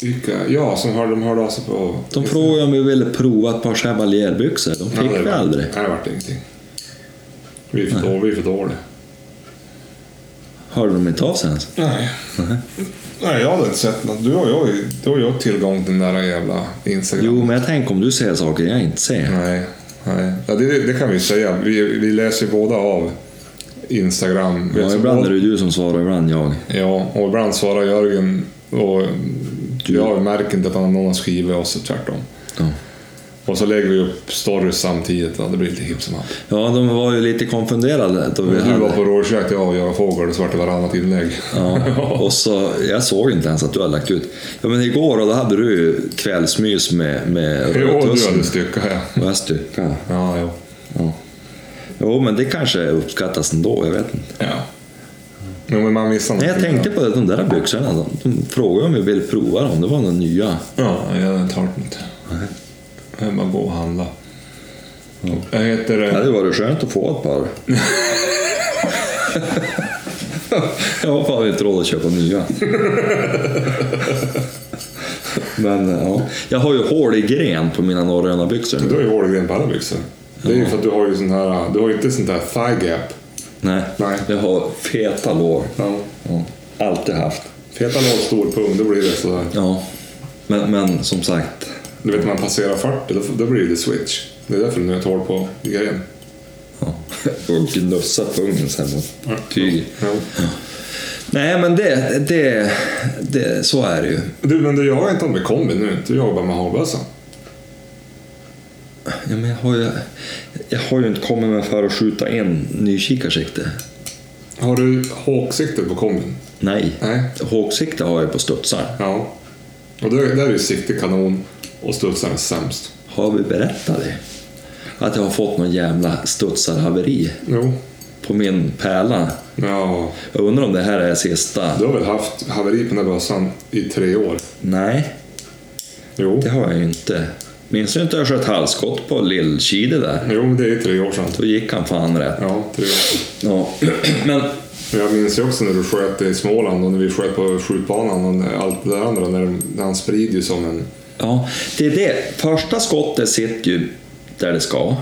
S2: Vilka, ja, som hörde, de hörde av sig på...
S1: De frågade om vi ville prova ett par chevalierbyxor. De
S2: Nej,
S1: fick
S2: det
S1: vi
S2: var-
S1: aldrig.
S2: Nej, det vart ingenting. Vi är för dåliga. Vi är för dåliga.
S1: Hörde de inte av sig ens?
S2: Nej. Nej, jag hade inte sett något. Du och jag, du och jag tillgång till den där jävla Instagram.
S1: Jo, men jag tänker om du ser saker jag inte ser.
S2: Nej, nej. Ja, det, det kan vi säga. Vi, vi läser ju båda av Instagram. Liksom.
S1: Ja, ibland är det ju du som svarar, ibland jag.
S2: Ja, och ibland svarar Jörgen och jag märker inte att han någon har skrivit oss, tvärtom.
S1: Ja.
S2: Och så lägger vi upp stories samtidigt, ja, det blir lite hipp som happ.
S1: Ja, de var ju lite konfunderade då vi
S2: Du var
S1: hade...
S2: på rådjursjakt, jag och jag fågel, och så vart det varannat inlägg.
S1: Ja, och så, jag såg inte ens att du hade lagt ut. Ja, men igår då hade du ju kvällsmys med, med
S2: Jo, du
S1: rödtussen.
S2: hade styckat ja.
S1: Och jag styckade.
S2: Ja, jo.
S1: Jo, men det kanske uppskattas ändå, jag vet inte.
S2: Ja. Jo, men man missar
S1: Nej, jag
S2: någonting,
S1: tänkte på det, de där byxorna, de, de frågade om vi ville prova dem, det var några nya.
S2: Ja, jag hade inte hört något. Jag bara gå och handla. Jag heter... eh,
S1: Det hade varit skönt att få ett par. jag har fan inte råd att köpa nya. Men eh, ja, jag har ju hål i gren på mina norröna byxor
S2: Du
S1: nu.
S2: har ju hålgren på alla byxor. eh. Det är ju för att du har ju sån här... eh, Du har ju inte sånt där thigh gap.
S1: Nej,
S2: Nej.
S1: jag har feta lår.
S2: Ja.
S1: Ja, alltid haft.
S2: Feta lår, stor pung, då blir det sådär.
S1: Ja, men, men som sagt.
S2: Du vet, när man passerar 40, då, då blir det switch. Det är därför du har ett hål på grejen.
S1: Ja. Och gnussa pungen sen mot tyget.
S2: Ja.
S1: Nej, men det, det, det, så är det ju.
S2: Du, men du jagar inte med kombi nu. Du jagar bara med hagelbössa.
S1: Ja, men jag, har ju, jag har ju inte kommit med för att skjuta in nykikarsikte.
S2: Har du hawksikte på kombin?
S1: Nej.
S2: Nej.
S1: Hågsikte har jag på studsar.
S2: Ja. Och där, där är ju sikte kanon och studsaren sämst.
S1: Har vi berättat det? Att jag har fått någon jävla studsarhaveri
S2: Jo.
S1: på min pärla.
S2: Ja.
S1: Jag undrar om det här är sista.
S2: Du har väl haft haveri på den där bössan i tre år?
S1: Nej,
S2: Jo.
S1: det har jag ju inte. Minns du inte jag sköt halsskott på Lillkide där?
S2: Jo, men det är tre år sedan.
S1: Då gick han fan rätt.
S2: Ja, tre år sedan.
S1: Ja. Men
S2: Men Jag minns ju också när du sköt i Småland och när vi sköt på skjutbanan och när- allt det där andra. När, när han sprider ju som en...
S1: Ja, det är det. Första skottet sitter ju där det ska.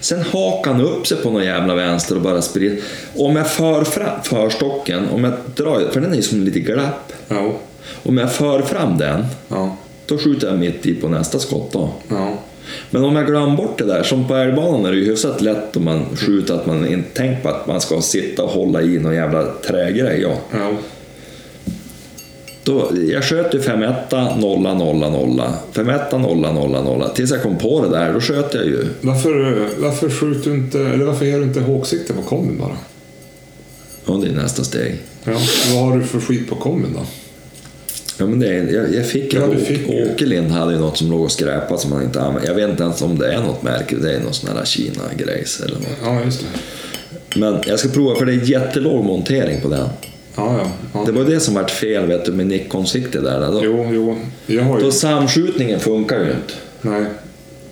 S1: Sen hakar han upp sig på någon jävla vänster och bara sprider. Om jag för fram förstocken, om jag drar, för den är ju som lite glapp.
S2: Ja.
S1: Om jag för fram den,
S2: Ja.
S1: då skjuter jag mitt i på nästa skott då.
S2: Ja.
S1: Men om jag glömmer bort det där, som på älgbanan är det ju hyfsat lätt om man skjuter att man inte tänker på att man ska sitta och hålla i någon jävla trägrej. Ja.
S2: Ja.
S1: Då, jag sköt ju 5 1 0 0 0 5 1 0 0 0 Tills jag kom på det där, då sköt jag ju.
S2: Varför, eh, varför skjuter du inte... Eller varför ger du inte hawksikte på kombin bara?
S1: Ja, det är nästa steg.
S2: Ja. Vad har du för skit på kombin då?
S1: Ja, men det är, jag, jag fick ju...
S2: Ja, du
S1: Åke-
S2: fick ju.
S1: Åkerlind hade ju något som låg och skräpade som han inte använde. Jag vet inte ens om det är något märke. Det är någon sån här Kina-grejs eller något.
S2: Ja, just det.
S1: Men jag ska prova, för det är jättelåg montering på den.
S2: Ja, ja. ja.
S1: Det var ju det som vart fel vet du, med Nikon-sikte där. Då,
S2: Jo, jo. Jag har ju...
S1: då samskjutningen funkar ju inte.
S2: Nej.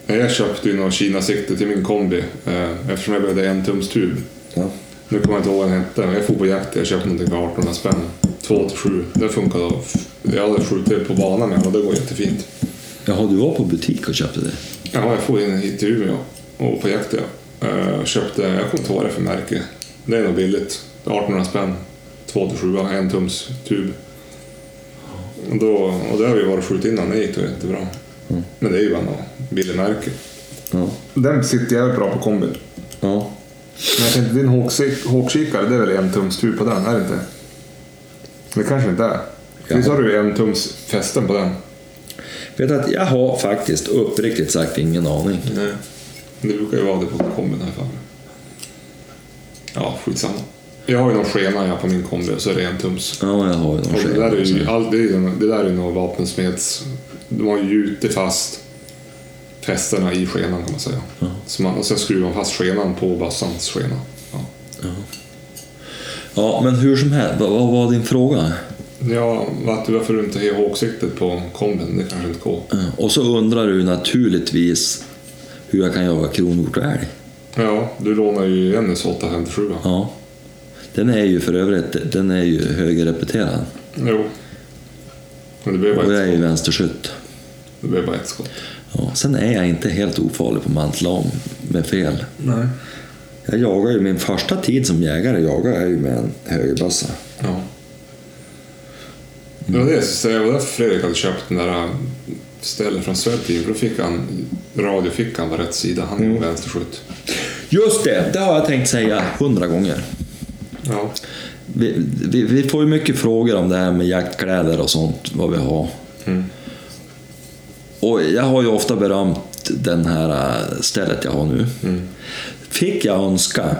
S2: Nej, Jag köpte ju någon Kina-sikte till min kombi eh, eftersom jag behövde en tums tub.
S1: Ja.
S2: Nu kommer jag inte ihåg vad den hette, men jag får på jakt. Jag köpte någonting för 1800 spänn. 2 till 7. Det funkade. av- Jag hade skjutit på banan med den och det går jättefint.
S1: Jaha, du var på butik och köpte det?
S2: Ja, jag får in hit till Umeå och på jakt. Ja. Eh, Köpte, jag kommer inte ihåg vad det är för märke. Det är nog billigt. 1800 spänn. 2 till 7, en tums tub. Och, då, och det har vi varit och skjutit innan, det gick då jättebra. Men det är ju bara något billigt märke.
S1: Ja.
S2: Den sitter jävligt bra på kombin.
S1: ja.
S2: Men jag tänkte, din hawksik- hawkkikare, det är väl en tums tur på den, är det inte? Det kanske inte är. Visst har du en tums fästen på den?
S1: Vet att jag har faktiskt uppriktigt sagt ingen aning.
S2: Nej. Det brukar ju vara det på kombin här för mig. Ja, skitsamma. Jag har ju någon skena jag på min kombi och så är det en tums.
S1: Ja, jag har ju någon
S2: Och det
S1: skena.
S2: där är ju,
S1: också.
S2: all, det, är ju, det där är ju någon vapensmeds... De har ju gjutit fast fästena i skenan kan man säga. Så man, och sen skruvar man fast skenan på bassans skena. Ja.
S1: Ja, men hur som helst, vad, vad var din fråga?
S2: Ja, Matti, varför du inte har hågsiktet på kombin? Det kanske inte går.
S1: Eh, Ja, Och så undrar du naturligtvis hur jag kan jaga kronhjort och älg.
S2: Ja, du lånar ju Jennys 857. va?
S1: Ja. Den är ju för övrigt den är ju högerrepeterad.
S2: Jo. Men det blev bara
S1: Och jag
S2: ett
S1: är ju
S2: skott.
S1: vänsterskytt.
S2: Det blev bara ett skott.
S1: Ja. Sen är jag inte helt ofarlig på mantelom med fel.
S2: Nej.
S1: Jag jagar ju, min första tid som jägare jagar jag ju med en högerbössa.
S2: Ja. Det var det jag skulle säga. Det var därför Fredrik hade köpt den där äh, stället från Swedteam. För då fick han, radiofickan var rätt sida. Han är mm. vänsterskytt.
S1: Just det, det har jag tänkt säga hundra gånger.
S2: Ja.
S1: Vi, vi, vi får ju mycket frågor om det här med jaktkläder och sånt, vad vi har.
S2: Mm.
S1: Och jag har ju ofta berömt den här äh, stället jag har nu. Fick jag önska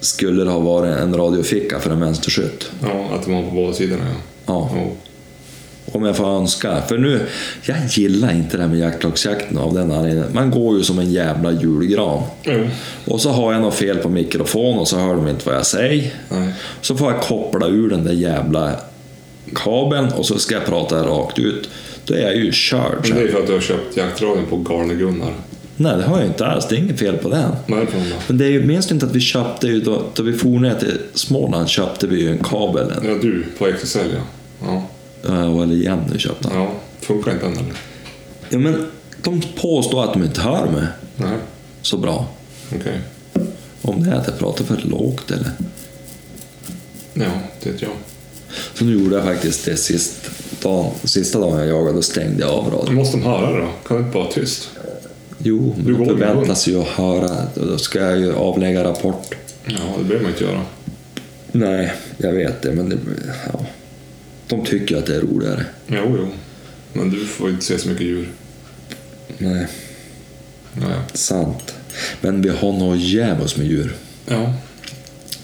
S1: skulle det ha varit en radioficka för en vänsterskytt.
S2: ja, att de har på båda sidorna ja.
S1: Ja.
S2: Jo.
S1: Om jag får önska. För nu, jag gillar inte det här med jaktlagsjakten av den anledningen. Man går ju som en jävla julgran.
S2: Jo.
S1: Och så har jag något fel på mikrofon och så hör de inte vad jag säger.
S2: Nej.
S1: Så får jag koppla ur den där jävla kabeln och så ska jag prata rakt ut. Då är jag ju körd.
S2: Men det är för att du har köpt jaktradion på Garne Gunnar.
S1: Nej, det har jag inte alls. Det är inget fel på den.
S2: Nej, från då.
S1: Men det är ju, minns du inte att vi köpte, ju då, då vi for ner till Småland köpte vi ju en kabel. En,
S2: Ja, du på XSL ja. Ja.
S1: eh, eller Jenny köpte den.
S2: ja. Funkar inte den eller?
S1: Ja, men de påstår att de inte hör mig
S2: Nej.
S1: så bra.
S2: Okej.
S1: Om det är att jag pratar för lågt eller...
S2: Ja, det vet jag.
S1: Så nu gjorde jag faktiskt det sist dagen, sista dagen jag jagade, då stängde jag av
S2: Då
S1: radion.
S2: måste de höra det då. Kan det inte bara vara tyst?
S1: Jo, men
S2: Du
S1: de
S2: går ju
S1: förväntas ju att höra, och då ska jag ju avlägga rapport.
S2: Ja, det behöver man inte göra.
S1: Nej, jag vet det, men det, ja. de tycker att det är roligare.
S2: Jo, jo. Men du får ju inte se så mycket djur.
S1: Nej,
S2: Ja, ja.
S1: sant. Men vi har nog djävulskt med djur.
S2: ja.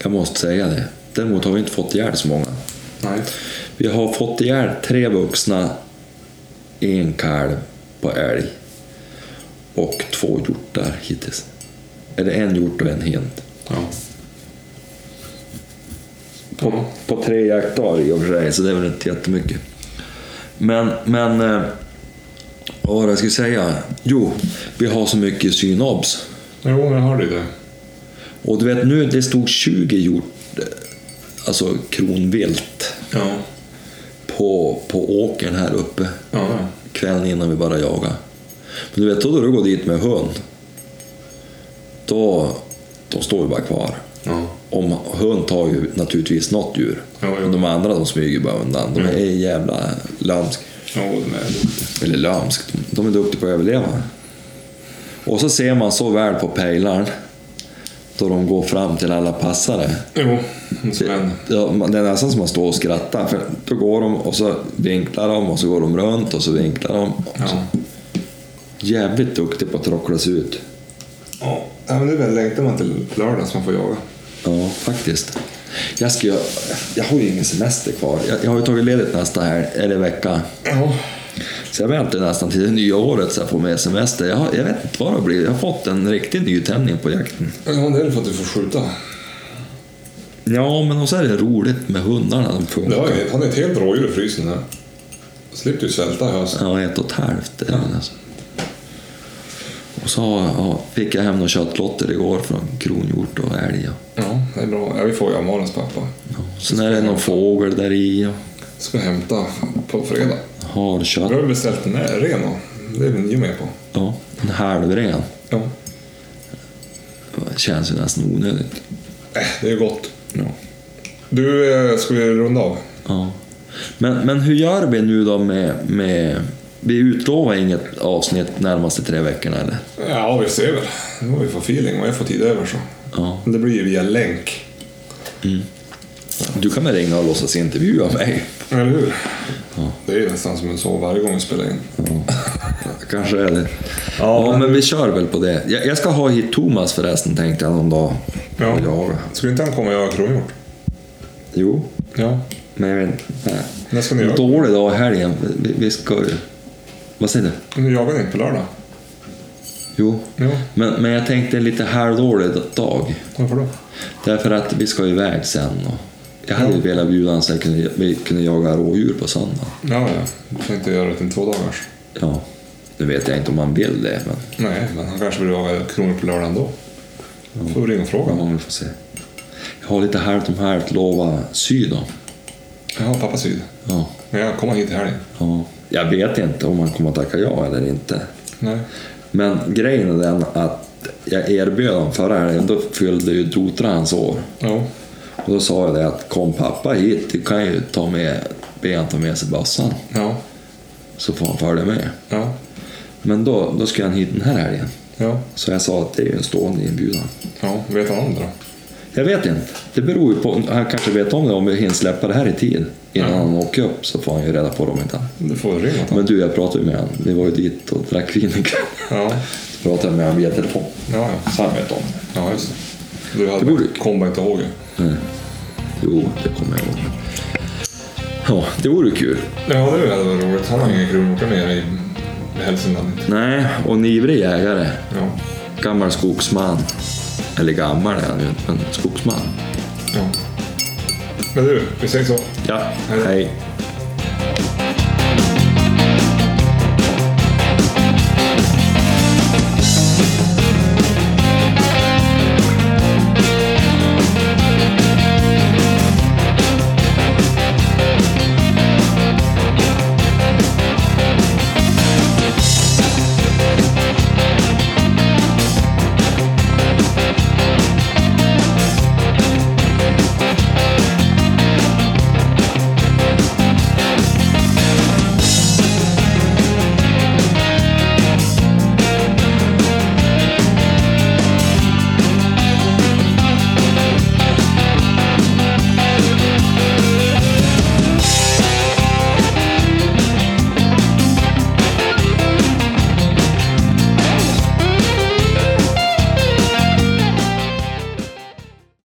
S1: Jag måste säga det. Däremot har vi inte fått ihjäl så många.
S2: Nej.
S1: Vi har fått ihjäl tre vuxna, en kalv på älg och två hjortar hittills. Eller en hjort och en hind.
S2: Ja.
S1: På, på tre jaktdagar i och för sig, så det är väl inte jättemycket. Men, men... eh, Vad var det jag skulle säga? Jo, vi har så mycket synobs.
S2: Jo, jag hörde ju det.
S1: Och du vet nu, det stod 20 hjort, eh, alltså kronvilt,
S2: Ja.
S1: på, på åkern här uppe.
S2: Ja, ja.
S1: kvällen innan vi bara jaga. Men du vet, då när du går dit med hund, då de står ju bara kvar.
S2: Ja.
S1: Om, hund tar ju naturligtvis något djur.
S2: Ja, ja.
S1: Men De andra de smyger bara undan. De är jävla lömsk.
S2: Jo, de är duktiga.
S1: Eller lömsk, de- de är duktiga på att överleva. Och så ser man så väl på pejlaren, då de går fram till alla passare.
S2: Jo, men så men.
S1: Ja, man- det är nästan som man står och skrattar. För då går de och så vinklar de och så går de runt och så vinklar de.
S2: Ja.
S1: Jävligt duktig på att rocklas ut.
S2: Ja, men nu väl längtar man till lördagen som man får jaga.
S1: Ja, faktiskt. Jag, ska, ju- jag har ju ingen semester kvar. Jag, jag har ju tagit ledigt nästa här, eller vecka.
S2: Ja.
S1: Så jag väntar nästan till det nya året så jag får mer semester. Jag, har, jag vet inte vad det blir. Jag har fått en riktig nytändning på jakten.
S2: Ja, det är för att du får skjuta.
S1: Ja, men och så är det roligt med hundarna. De
S2: Det har
S1: funkar.
S2: ju, han är ett helt rådjur i frysen där. Slipper du svälta i höst.
S1: Ja, ett och ett halvt. är den Alltså. Och så har- ja, fick jag hem några köttlotter igår från kronhjort och älg. och-
S2: Ja, det är bra. Ja, vi får ju av Malins pappa.
S1: Ja. Sen är det någon fågel där i och
S2: Ska hämta på fredag. Vi
S1: harkött.
S2: har beställt en ren då. Det är vi ju med på.
S1: Ja, en halvren.
S2: Ja.
S1: Det känns ju nästan onödigt.
S2: Äh, det är ju gott.
S1: Ja.
S2: Du, eh, ska vi runda av?
S1: Ja. Men, men hur gör vi nu då med... med vi utlovar inget avsnitt närmaste tre veckorna eller?
S2: Ja, vi ser väl. Nu har vi fått feeling och jag får tid över så.
S1: Ja.
S2: Men det blir ju via länk.
S1: Du kan väl ringa och låtsas intervjua mig?
S2: Eller hur? Det är ju nästan som en så varje gång vi spelar in.
S1: Kanske är det. Ja, men vi kör väl på det. Jag, jag ska ha hit Thomas förresten tänkte jag någon dag.
S2: Ja.
S1: ja.
S2: Skulle inte han komma och göra kronhjort?
S1: Jo,
S2: Ja.
S1: men jag vet inte. Nej.
S2: När ska ni
S1: En
S2: göra?
S1: dålig dag i helgen. Vi, vi ska ju... Vad säger du?
S2: Nu jagar ni inte på lördag?
S1: Jo.
S2: Jo.
S1: Men, men jag tänkte en lite halvdålig dag.
S2: Varför då?
S1: Därför att vi ska iväg sen. Och jag hade ju velat bjuda honom så jag kunde, vi kunde jaga rådjur på söndag.
S2: Ja, ja. Du får inte göra det till två dagars.
S1: Ja, nu vet jag inte om han vill det. Men
S2: Nej, men han kanske vill jaga kronhjort på lördagen då. Får vi ringa och
S1: Ja,
S2: fråga.
S1: vi får se. Jag har lite halvt om halvt lova sy då.
S2: Ja, pappa syd.
S1: Ja,
S2: Men jag kommer hit i helgen.
S1: ja. Jag vet inte om han kommer att tacka ja eller inte.
S2: Nej.
S1: Men grejen är den att jag erbjöd honom förra helgen, då fyllde ju Dotra hans år.
S2: Ja.
S1: Och då sa jag det att kom pappa hit, du kan ju ta med, be han ta med sig bassan
S2: Ja.
S1: så får han följa med.
S2: Ja.
S1: Men då, då ska han hit den här helgen.
S2: Ja.
S1: Så jag sa att det är ju en stående inbjudan.
S2: Ja. Vet han om det då?
S1: Jag vet inte. Det beror ju på, han kanske vet om det om vi hinner släppa det här i tid. Innan han åker upp så får han ju reda på det om inte annat.
S2: Du får ringa honom.
S1: Men du, jag pratade ju med honom. Vi var ju dit och drack vin en kväll.
S2: Ja.
S1: Så pratade jag med honom via telefon.
S2: Ja, ja.
S1: Så han vet om det.
S2: Ja, just det. Du hade
S1: Det borde-
S2: kom bara inte ihåg. det.
S1: Jo, det kommer jag ihåg. Ja, det vore kul.
S2: Ja, det hade varit roligt. Han har ingen kronoka nere i Hälsingland. inte.
S1: Nej, och en ivrig jägare.
S2: Ja.
S1: Gammal skogsman. Eller gammal är han ju inte, men skogsman.
S2: ja. Men du, vi säger så.
S1: Ja,
S2: Hej.
S1: hej.